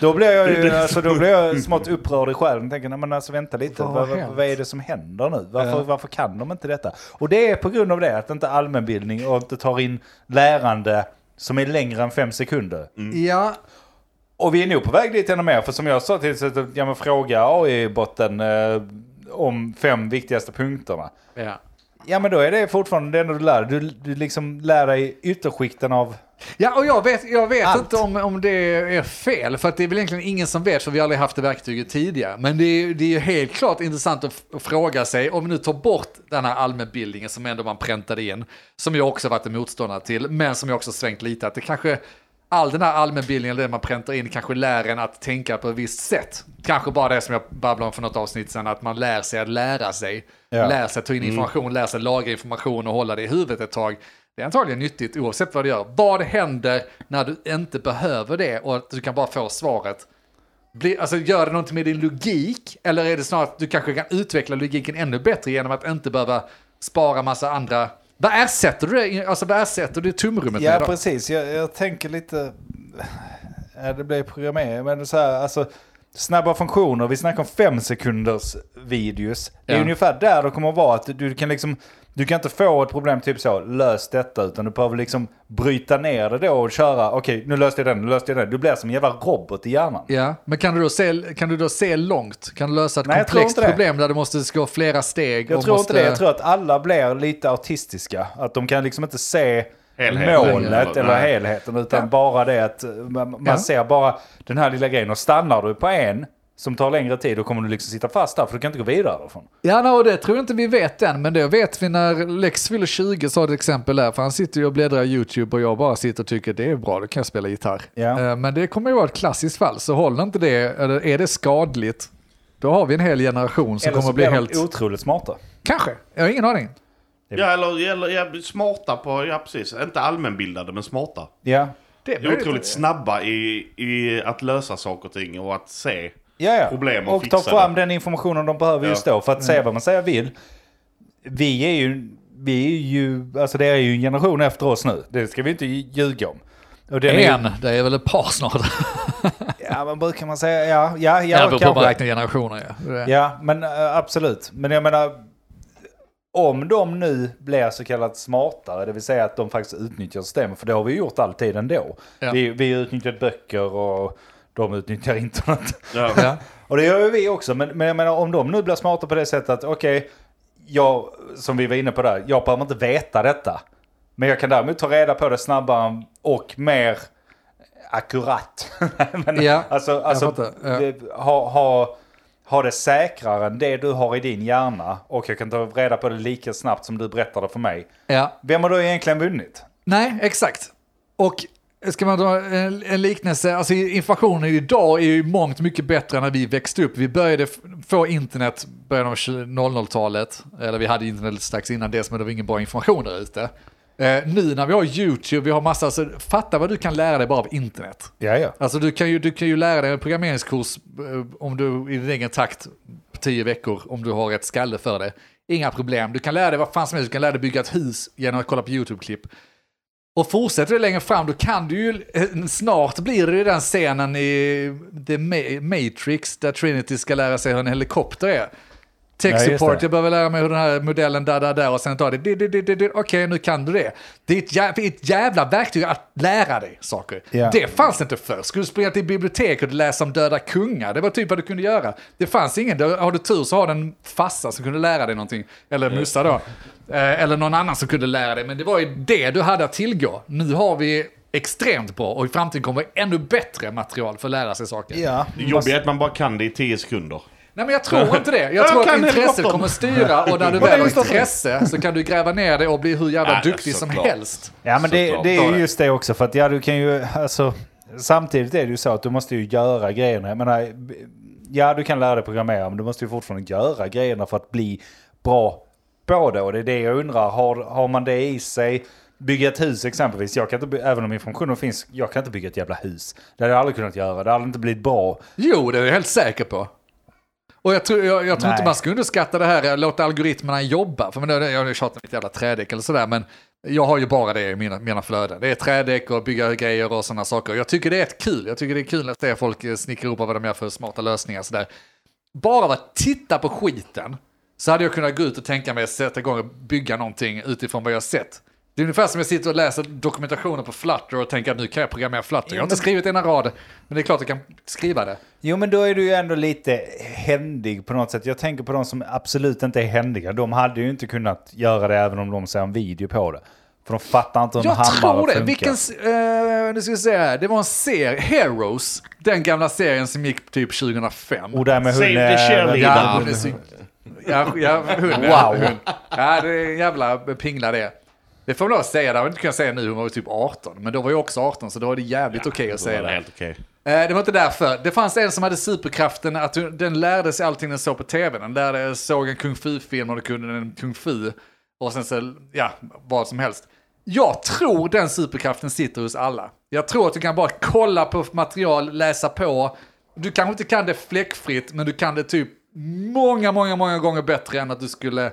Speaker 2: då blir jag ju, alltså, då blir jag smått upprörd i själen. Jag tänker, nej men alltså vänta lite,
Speaker 4: Vad
Speaker 2: vad,
Speaker 4: har
Speaker 2: vad,
Speaker 4: hänt?
Speaker 2: vad är det som händer nu? Varför,
Speaker 4: Ja.
Speaker 2: varför kan de inte detta? Och det är på grund av det, att inte allmänbildning och inte tar in lärande som är längre än fem sekunder.
Speaker 4: ja,
Speaker 2: Och vi är nog på väg dit ännu mer. För som jag sa till exempel, ja, men fråga AI-botten eh, om fem viktigaste punkterna.
Speaker 4: ja.
Speaker 2: Ja men då är det fortfarande det enda du lär dig. Du, du liksom lär dig ytterskikten av...
Speaker 4: Ja, och jag vet, jag vet
Speaker 2: Allt.
Speaker 4: inte om, om det är fel, för att det är väl egentligen ingen som vet, för vi har aldrig haft det verktyget tidigare. Men det är, det är ju helt klart intressant att, f- att fråga sig, om vi nu tar bort den här allmänbildningen som ändå man präntade in, som jag också varit en motståndare till, men som jag också svängt lite, att det kanske, all den här allmänbildningen, det man präntar in, kanske lär en att tänka på ett visst sätt. Kanske bara det som jag babblade om för något avsnitt sedan, att man lär sig att lära sig,
Speaker 2: Ja.
Speaker 4: lär sig att ta Alltså, in
Speaker 2: Mm.
Speaker 4: information, lär sig lagra information och hålla det i huvudet ett tag. Det är antagligen nyttigt oavsett vad du gör. Vad händer när du inte behöver det och att du kan bara få svaret? Bli, alltså, gör det någonting med din logik? Eller är det snarare att du kanske kan utveckla logiken ännu bättre genom att inte behöva spara massa andra... Vad ersätter du, det- alltså, vad ersätter du tomrummet
Speaker 2: Ja
Speaker 4: med? Då?
Speaker 2: precis, jag, jag tänker lite... Ja, det blir programmering, men så här, alltså... Snabba funktioner, vi snackar om fem sekunders videos. Det är
Speaker 4: Ja.
Speaker 2: ungefär där det kommer att vara. Att du kan liksom... Du kan inte få ett problem typ så, lös detta, utan du behöver liksom bryta ner det då och köra, okej nu löste jag den, nu löste jag den. Du blir som en jävla robot i hjärnan.
Speaker 4: Ja, men kan du, då se, kan du då se långt? Kan du lösa ett
Speaker 2: Nej, jag tror
Speaker 4: komplext
Speaker 2: inte det.
Speaker 4: problem där du måste gå flera steg?
Speaker 2: Jag
Speaker 4: och
Speaker 2: tror
Speaker 4: måste...
Speaker 2: inte det. Jag tror att alla blir lite autistiska. Att de kan liksom inte se
Speaker 1: Helheten.
Speaker 2: målet
Speaker 1: Nej.
Speaker 2: eller helheten. Utan
Speaker 4: Ja.
Speaker 2: bara det att eh, man, man
Speaker 4: Ja.
Speaker 2: ser bara den här lilla grejen. Och stannar du på en som tar längre tid då kommer du liksom sitta fast där. För du kan inte gå vidare därifrån.
Speaker 4: Ja, no, det tror jag inte vi vet än, men det vet vi när Lex fyller 20 sa det exempel där, för han sitter ju och bläddrar i YouTube och jag bara sitter och tycker det är bra, då kan jag spela gitarr.
Speaker 2: Ja.
Speaker 4: Eh, Men det kommer ju vara ett klassiskt fall, så håller inte det, eller är det skadligt, då har vi en hel generation som
Speaker 2: Eller
Speaker 4: kommer
Speaker 2: så
Speaker 4: att bli
Speaker 2: blir
Speaker 4: helt...
Speaker 2: de otroligt smarta.
Speaker 4: Kanske, jag har ingen aning.
Speaker 1: Ja, eller, eller ja, smarta på, ja precis. Inte allmänbildade, men smarta.
Speaker 2: Ja.
Speaker 4: Det är
Speaker 1: Jag är otroligt snabba i, i att lösa saker och ting och att se.
Speaker 2: Ja, ja.
Speaker 1: Problem att
Speaker 2: och ta
Speaker 1: fixa
Speaker 2: fram
Speaker 1: det.
Speaker 2: den informationen de behöver
Speaker 1: Ja.
Speaker 2: just då för att
Speaker 4: Mm.
Speaker 2: säga vad man säger vill. Vi är ju, vi är ju, alltså det är ju en generation efter oss nu. Det ska vi inte ljuga om. Och den är ju-
Speaker 4: En, det är väl ett par snart.
Speaker 2: Ja, men brukar man säga, ja, ja,
Speaker 4: Ja, det
Speaker 2: ja,
Speaker 4: beror på hur man
Speaker 2: kanske.
Speaker 4: räknar generationer. Ja. Det-
Speaker 2: Ja, men eh, absolut. Men jag menar, om de nu blir så kallat smartare, det vill säga att de faktiskt utnyttjar systemet, för det har vi gjort alltid ändå.
Speaker 4: Ja.
Speaker 2: Vi, vi utnyttjar böcker och de utnyttjar internet.
Speaker 1: Ja.
Speaker 4: Ja.
Speaker 2: Och det gör ju vi också, men, men jag menar om de nu blir smarta på det sättet att okej, jag, som vi var inne på där, jag behöver inte veta detta. Men jag kan däremot ta reda på det snabbare och mer akkurat. Nej, men,
Speaker 4: Ja,
Speaker 2: alltså
Speaker 4: jag
Speaker 2: alltså
Speaker 4: fattar, ja.
Speaker 2: det- ha, ha, ha det säkrare än det du har i din hjärna och jag kan ta reda på det lika snabbt som du berättar det för mig.
Speaker 4: Ja.
Speaker 2: Vem har då egentligen vunnit?
Speaker 4: Nej, exakt. Och ska man dra en, en liknelse, alltså informationen idag är ju mångt mycket bättre än när vi växte upp. Vi började f- få internet början av 20 00-talet, eller vi hade internet strax innan dess, men det var ingen bra information där ute. Eh, nu när vi har YouTube, vi har massa, alltså, fatta vad du kan lära dig bara av internet.
Speaker 2: Ja, ja.
Speaker 4: Alltså du kan ju, du kan ju lära dig en programmeringskurs eh, om du i din egen takt på tio veckor om du har rätt skalle för det. Inga problem. Du kan lära dig vad fan som helst. Du kan lära dig bygga ett hus genom att kolla på YouTube-klipp. Och fortsätter du längre fram då kan du ju, eh, snart blir det ju den scenen i The Ma- Matrix där Trinity ska lära sig hur en helikopter är. Tech
Speaker 2: Ja, just
Speaker 4: support,
Speaker 2: det.
Speaker 4: jag behöver lära mig hur den här modellen där, där, där och sen tar det, di- di- di- di- di- okej nu kan du det. Det är ett jävla, ett jävla verktyg att lära dig saker.
Speaker 2: Ja.
Speaker 4: Det fanns inte förr. Skulle du springa till biblioteket och läsa om döda kungar, det var typ vad du kunde göra. Det fanns ingen, Då har du tur så har du en farsa som kunde lära dig någonting, eller mussa då. Eh, Eller någon annan som kunde lära dig, men det var ju det du hade att tillgå. Nu har vi extremt bra och i framtiden kommer ännu bättre material för att lära sig saker.
Speaker 2: Ja,
Speaker 1: Det jobbiga är att man bara kan det i 10 sekunder.
Speaker 4: Nej men jag tror inte det. Jag
Speaker 1: Jag
Speaker 4: tror att
Speaker 1: kan
Speaker 4: intresset
Speaker 1: helikoptern.
Speaker 4: kommer styra och när du
Speaker 2: Vad är
Speaker 4: väl har
Speaker 2: helikoptern?
Speaker 4: intresse så kan du gräva ner det och bli hur jävla
Speaker 1: Nej,
Speaker 4: duktig som
Speaker 1: såklart.
Speaker 4: helst.
Speaker 2: Ja, men det,
Speaker 1: Såklart.
Speaker 2: det
Speaker 1: Ta
Speaker 2: är
Speaker 1: det.
Speaker 2: ju just det också. För att ja, du kan ju, alltså, samtidigt är det ju så att du måste ju göra grejerna. Jag menar, ja, du kan lära dig programmera, men du måste ju fortfarande göra grejerna för att bli bra på det. Och det är det jag undrar, har, har man det i sig? Bygga ett hus exempelvis, jag kan inte, by- även om informationen finns, jag kan inte bygga ett jävla hus. Det hade jag aldrig kunnat göra, det hade inte blivit bra.
Speaker 4: Jo, det är jag helt säker på. Och jag tror, jag, jag tror inte
Speaker 2: Nej.
Speaker 4: man ska underskatta det här, eh, låta algoritmerna jobba. För men det, jag tjatar mitt jävla trädäck eller sådär, men jag har ju bara det i mina, mina flöden. Det är trädäck och bygga grejer och sådana saker. Jag tycker det är ett kul, jag tycker det är kul att se folk eh, snickra ihop vad de gör för smarta lösningar sådär. Bara av att titta på skiten så hade jag kunnat gå ut och tänka mig att sätta igång och bygga någonting utifrån vad jag har sett. Det är ungefär som jag sitter och läser dokumentationen på Flutter och tänker att nu kan jag programmera Flutter. Jag har inte skrivit en rad, men det är klart jag kan skriva det.
Speaker 2: Jo, men då är du ju ändå lite händig på något sätt. Jag tänker på de som absolut inte är händiga. De hade ju inte kunnat göra det även om de ser en video på det. För de fattar inte hur en
Speaker 4: Jag
Speaker 2: hammare
Speaker 4: tror det.
Speaker 2: funkar.
Speaker 4: Vilken, s- eh, nu ska vi se här. Det var en serie, Heroes. Den gamla serien som gick typ 2005.
Speaker 2: Och där med
Speaker 1: Save
Speaker 2: hon...
Speaker 1: the
Speaker 2: eh,
Speaker 1: cheerleader.
Speaker 4: ja, hon är så, ja, ja, hon, ja, hon. Ja, det är en jävla pingla det. Det får man lov att säga, det har jag inte kunnat säga nu, hon var ju typ 18. Men då var jag också 18, så då var det jävligt okej att säga det.
Speaker 1: Helt okej.
Speaker 4: Eh, Det var inte därför. Det fanns en som hade superkraften att hon- den lärde sig allting den såg på tv. Den lärde, såg en kung fu-film och då kunde den kung fu. Och sen så, ja, vad som helst. Jag tror den superkraften sitter hos alla. Jag tror att du kan bara kolla på material, läsa på. Du kanske inte kan det fläckfritt, men du kan det typ många, många, många gånger bättre än att du skulle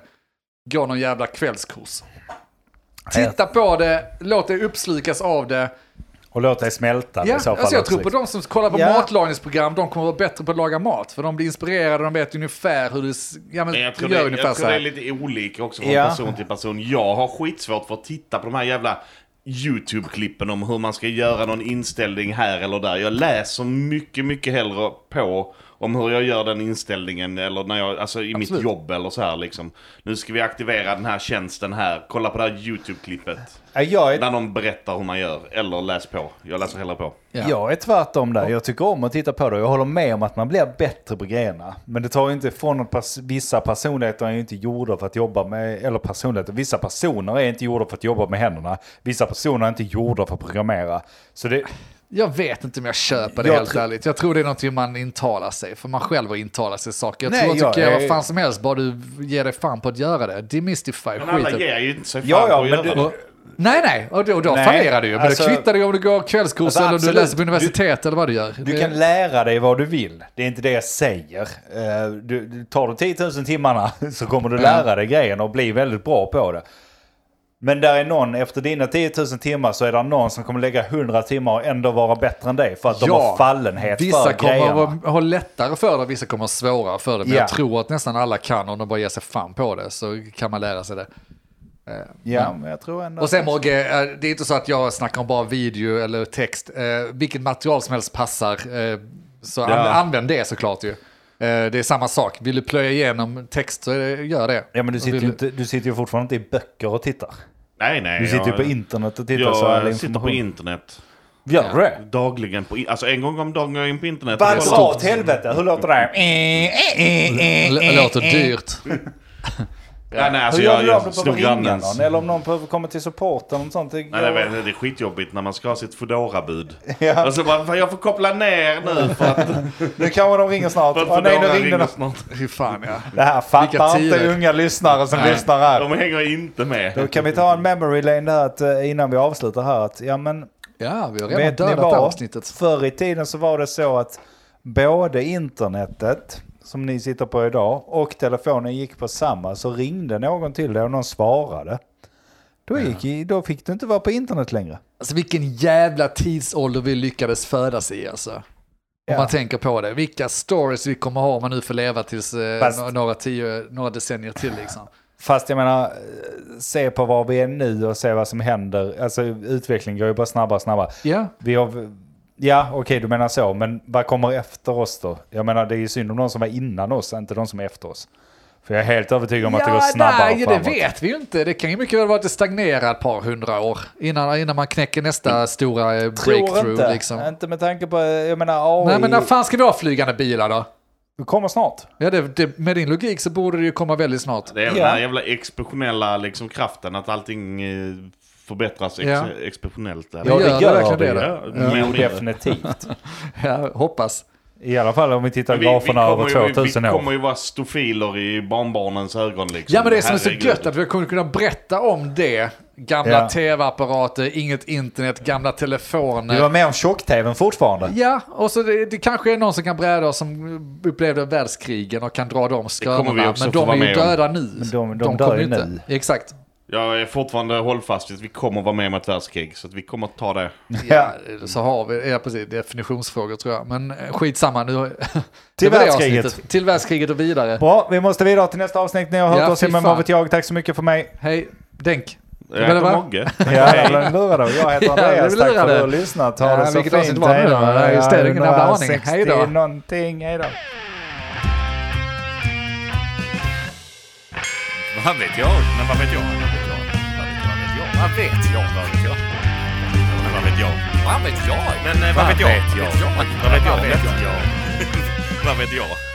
Speaker 4: gå någon jävla kvällskurs. Titta på det, låt dig uppslukas av det.
Speaker 2: Och låt dig smälta
Speaker 4: Ja,
Speaker 2: i så fall.
Speaker 4: alltså jag tror på
Speaker 2: också.
Speaker 4: de som kollar på
Speaker 2: Ja.
Speaker 4: matlagningsprogram, de kommer vara bättre på att laga mat. För de blir inspirerade, de vet ungefär hur du s- ja, men,
Speaker 1: Men jag tror,
Speaker 4: gör
Speaker 1: det,
Speaker 4: ungefär
Speaker 1: jag
Speaker 4: så
Speaker 1: tror det är
Speaker 4: här.
Speaker 1: lite olika också från
Speaker 2: Ja.
Speaker 1: person till person. Jag har skitsvårt för att titta på de här jävla YouTube-klippen om hur man ska göra någon inställning här eller där. Jag läser mycket, mycket hellre på om hur jag gör den inställningen eller när jag, alltså i mitt
Speaker 4: Absolut.
Speaker 1: jobb eller så här liksom. Nu ska vi aktivera den här tjänsten här. Kolla på det här YouTube-klippet.
Speaker 2: Ja, jag, är,
Speaker 1: Där någon berättar hur man gör. Eller läs på. Jag läser hellre på.
Speaker 4: Ja.
Speaker 2: jag är tvärtom där. Jag tycker om att titta på det. Jag håller med om att man blir bättre på grejerna. Men det tar ju inte ifrån att pers- vissa personligheter är ju inte gjorda för att jobba med... Eller personligheter. Vissa personer är inte gjorda för att jobba med händerna. Vissa personer är inte gjorda för att programmera. Så det...
Speaker 4: Jag vet inte om jag köper det
Speaker 2: Jag
Speaker 4: helt
Speaker 2: tror-
Speaker 4: ärligt. Jag tror det är någonting man intalar sig, för man själv har intalat sig saker. Jag
Speaker 2: Nej,
Speaker 4: tror att du
Speaker 2: jag
Speaker 4: kan göra
Speaker 2: är-
Speaker 4: vad fan som helst, bara du ger dig fan på att göra det. Demystify
Speaker 1: Men alla
Speaker 4: skiten.
Speaker 1: ger ju inte sig fan
Speaker 2: Ja, ja,
Speaker 1: på att
Speaker 2: men
Speaker 1: göra
Speaker 2: du-
Speaker 1: det.
Speaker 4: Och- Nej, nej, och då, då
Speaker 2: Nej,
Speaker 4: fallerar du ju. Men
Speaker 2: alltså-
Speaker 4: det kvittar ju om du går kvällskurs
Speaker 2: Alltså,
Speaker 4: eller om
Speaker 2: absolut.
Speaker 4: du läser
Speaker 2: Du-
Speaker 4: på universitet eller vad du gör.
Speaker 2: Du
Speaker 4: Det-
Speaker 2: kan lära dig vad du vill. Det är inte det jag säger. Eh, Du, du tar du 10 000 timmarna så kommer du lära dig grejen och bli väldigt bra på det. Men där är någon, efter dina 10 000 timmar så är det någon som kommer lägga 100 timmar och ändå vara bättre än dig för att de har fallenhet
Speaker 4: Vissa
Speaker 2: för
Speaker 4: kommer
Speaker 2: grejerna.
Speaker 4: att vara- ha lättare för det, vissa kommer att ha svårare för det. Men
Speaker 2: Ja.
Speaker 4: jag tror att nästan alla kan, om de bara ger sig fan på det, så kan man lära sig det.
Speaker 2: Ja, men jag tror ändå...
Speaker 4: Och sen Mogge, eh, det är inte så att jag snackar om bara video eller text. Eh, Vilket material som helst passar, eh, så an-
Speaker 1: Ja.
Speaker 4: använd det såklart ju. Eh, Det är samma sak, vill du plöja igenom text så eh, gör det.
Speaker 2: Ja, men du sitter,
Speaker 4: Vill
Speaker 2: ju inte, du sitter ju fortfarande inte i böcker och tittar.
Speaker 1: Nej, nej.
Speaker 2: Du sitter ju
Speaker 1: jag-
Speaker 2: på internet och tittar så all
Speaker 1: Jag sitter på
Speaker 2: information.
Speaker 1: internet.
Speaker 2: Gör du det?
Speaker 1: Dagligen på in- Alltså en gång om dagen går jag in på internet.
Speaker 2: Vad
Speaker 1: Och-
Speaker 4: typ.
Speaker 2: dra åt helvete, hur låter det?
Speaker 4: L- Låter
Speaker 2: Eh,
Speaker 4: dyrt.
Speaker 1: Ja, nej, alltså
Speaker 2: Hur gör
Speaker 1: jag,
Speaker 2: du om du
Speaker 1: jag
Speaker 2: behöver
Speaker 1: snor
Speaker 2: ringa
Speaker 1: grannens.
Speaker 2: någon? Eller om någon behöver komma till support eller något sånt? Det
Speaker 1: Nej, nej,
Speaker 2: går-
Speaker 1: nej, nej, det är skitjobbigt när man ska ha sitt Foodora-bud.
Speaker 2: Ja.
Speaker 1: Och så bara, "Fan, jag får koppla ner nu för att,
Speaker 2: Nu kanske de ringer snart.
Speaker 1: för att
Speaker 2: Åh nej, nu
Speaker 1: Foodora
Speaker 2: ringde
Speaker 1: ringer
Speaker 2: de.
Speaker 1: snart.
Speaker 4: Fy fan ja.
Speaker 2: Det här fattar
Speaker 4: Vilka
Speaker 2: inte
Speaker 4: tider.
Speaker 2: unga lyssnare som
Speaker 4: Nej.
Speaker 2: lyssnar här.
Speaker 1: De hänger inte
Speaker 2: Då
Speaker 1: med.
Speaker 2: kan vi ta en memory lane där att, eh, innan vi avslutar här. Att, ja, men,
Speaker 4: Ja, vi har redan
Speaker 2: vet ni
Speaker 4: dödat det här
Speaker 2: vad?
Speaker 4: avsnittet.
Speaker 2: Förr i tiden så var det så att både internetet, som ni sitter på idag, och telefonen gick på samma. Så ringde någon till dig och någon svarade. Då, gick, i- då fick du inte vara på internet längre.
Speaker 4: Alltså vilken jävla tidsålder vi lyckades födas i alltså. Om
Speaker 2: Ja.
Speaker 4: man tänker på det. Vilka stories vi kommer ha om man nu får leva tills eh,
Speaker 2: Fast-
Speaker 4: nå- några, tio, några decennier till liksom.
Speaker 2: Fast jag menar, eh, se på var vi är nu och se vad som händer. Alltså utvecklingen går ju bara snabbare och snabbare.
Speaker 4: Ja,
Speaker 2: Vi har, ja, okej du menar så, men vad kommer efter oss då? Jag menar det är ju synd om de som var innan oss, inte de som är efter oss. För jag är helt övertygad om att det går
Speaker 4: Ja,
Speaker 2: snabbare
Speaker 4: nej, det
Speaker 2: framåt.
Speaker 4: vet vi ju inte. Det kan ju mycket väl vara att det stagnerar ett par hundra år innan, innan man knäcker nästa stora eh, breakthrough. Liksom.
Speaker 2: Mm. Inte med tanke på, jag menar AI.
Speaker 4: Nej, men när fan ska vi ha flygande bilar då?
Speaker 2: Det kommer snart.
Speaker 4: Ja, det, det, med din logik så borde det ju komma väldigt snart.
Speaker 1: Det är väl
Speaker 2: Ja.
Speaker 1: den här jävla explosionella liksom, kraften, att allting eh, förbättras ex-
Speaker 4: Ja.
Speaker 1: explosionellt. Där.
Speaker 2: Ja, det gör det.
Speaker 4: då?
Speaker 1: Ja,
Speaker 2: Jo,
Speaker 1: men-
Speaker 2: definitivt.
Speaker 4: Ja, hoppas.
Speaker 2: I alla fall om vi tittar
Speaker 1: Men vi-
Speaker 2: graferna
Speaker 1: vi
Speaker 2: över
Speaker 1: kommer ju-
Speaker 2: 2000
Speaker 1: Vi
Speaker 2: år.
Speaker 1: kommer ju vara stofiler i barnbarnens ögon liksom.
Speaker 4: Ja, men det som är så
Speaker 1: Herregud.
Speaker 4: gött att vi kommer kunna berätta om det. Gamla
Speaker 2: Ja.
Speaker 4: tv-apparater, inget internet, gamla telefoner.
Speaker 2: Vi var med om tjock-tvn fortfarande.
Speaker 4: Ja, och så det, det kanske är någon som kan bräda oss som upplevde världskrigen och kan dra de
Speaker 1: kommer vi
Speaker 4: skrönorna.
Speaker 1: också
Speaker 4: Men
Speaker 1: få
Speaker 4: de
Speaker 1: vara
Speaker 4: är ju
Speaker 1: med om.
Speaker 4: döda nu.
Speaker 2: Men de- de
Speaker 4: kommer
Speaker 2: dör ju
Speaker 4: inte.
Speaker 2: nu.
Speaker 4: Exakt.
Speaker 1: Jag är fortfarande hållfast vid att vi kommer vara med om ett världskrig, så att vi kommer ta det.
Speaker 4: Ja, så har vi, ja precis, definitionsfrågor tror jag. Men eh, skitsamma nu. Det var det
Speaker 2: världskriget.
Speaker 4: avsnittet. Till världskriget och vidare.
Speaker 2: Bra, vi måste vidare till nästa avsnitt. Ni har hört
Speaker 4: Ja,
Speaker 2: oss,
Speaker 4: fy
Speaker 2: men vad
Speaker 4: fan.
Speaker 2: vet jag. Tack så mycket för mig.
Speaker 4: Hej, Denk.
Speaker 1: Jag
Speaker 4: Eller
Speaker 1: heter
Speaker 4: vad?
Speaker 1: Mogge.
Speaker 2: Ja, jag blev lurad då. Jag heter
Speaker 4: Ja, jag
Speaker 2: Andreas.
Speaker 4: blev
Speaker 2: Tack för att du
Speaker 4: lurad.
Speaker 2: har lyssnat. Ha
Speaker 4: Ja,
Speaker 2: det så
Speaker 4: vilket
Speaker 2: fint.
Speaker 4: avsnitt var det
Speaker 2: Hej då.
Speaker 4: nu då? Ja, just det,
Speaker 2: Ja,
Speaker 4: ingen jävla aning.
Speaker 2: 160
Speaker 4: Hej då.
Speaker 2: någonting. Hej då.
Speaker 3: Vad vet jag? Men vad vet jag? Vad vet jag? Vad vet jag? Vad vet jag? Men vad vet jag? Vad vet jag? Men eh, vad vet jag? Vad vet jag? Vad vet jag? Vad vet jag?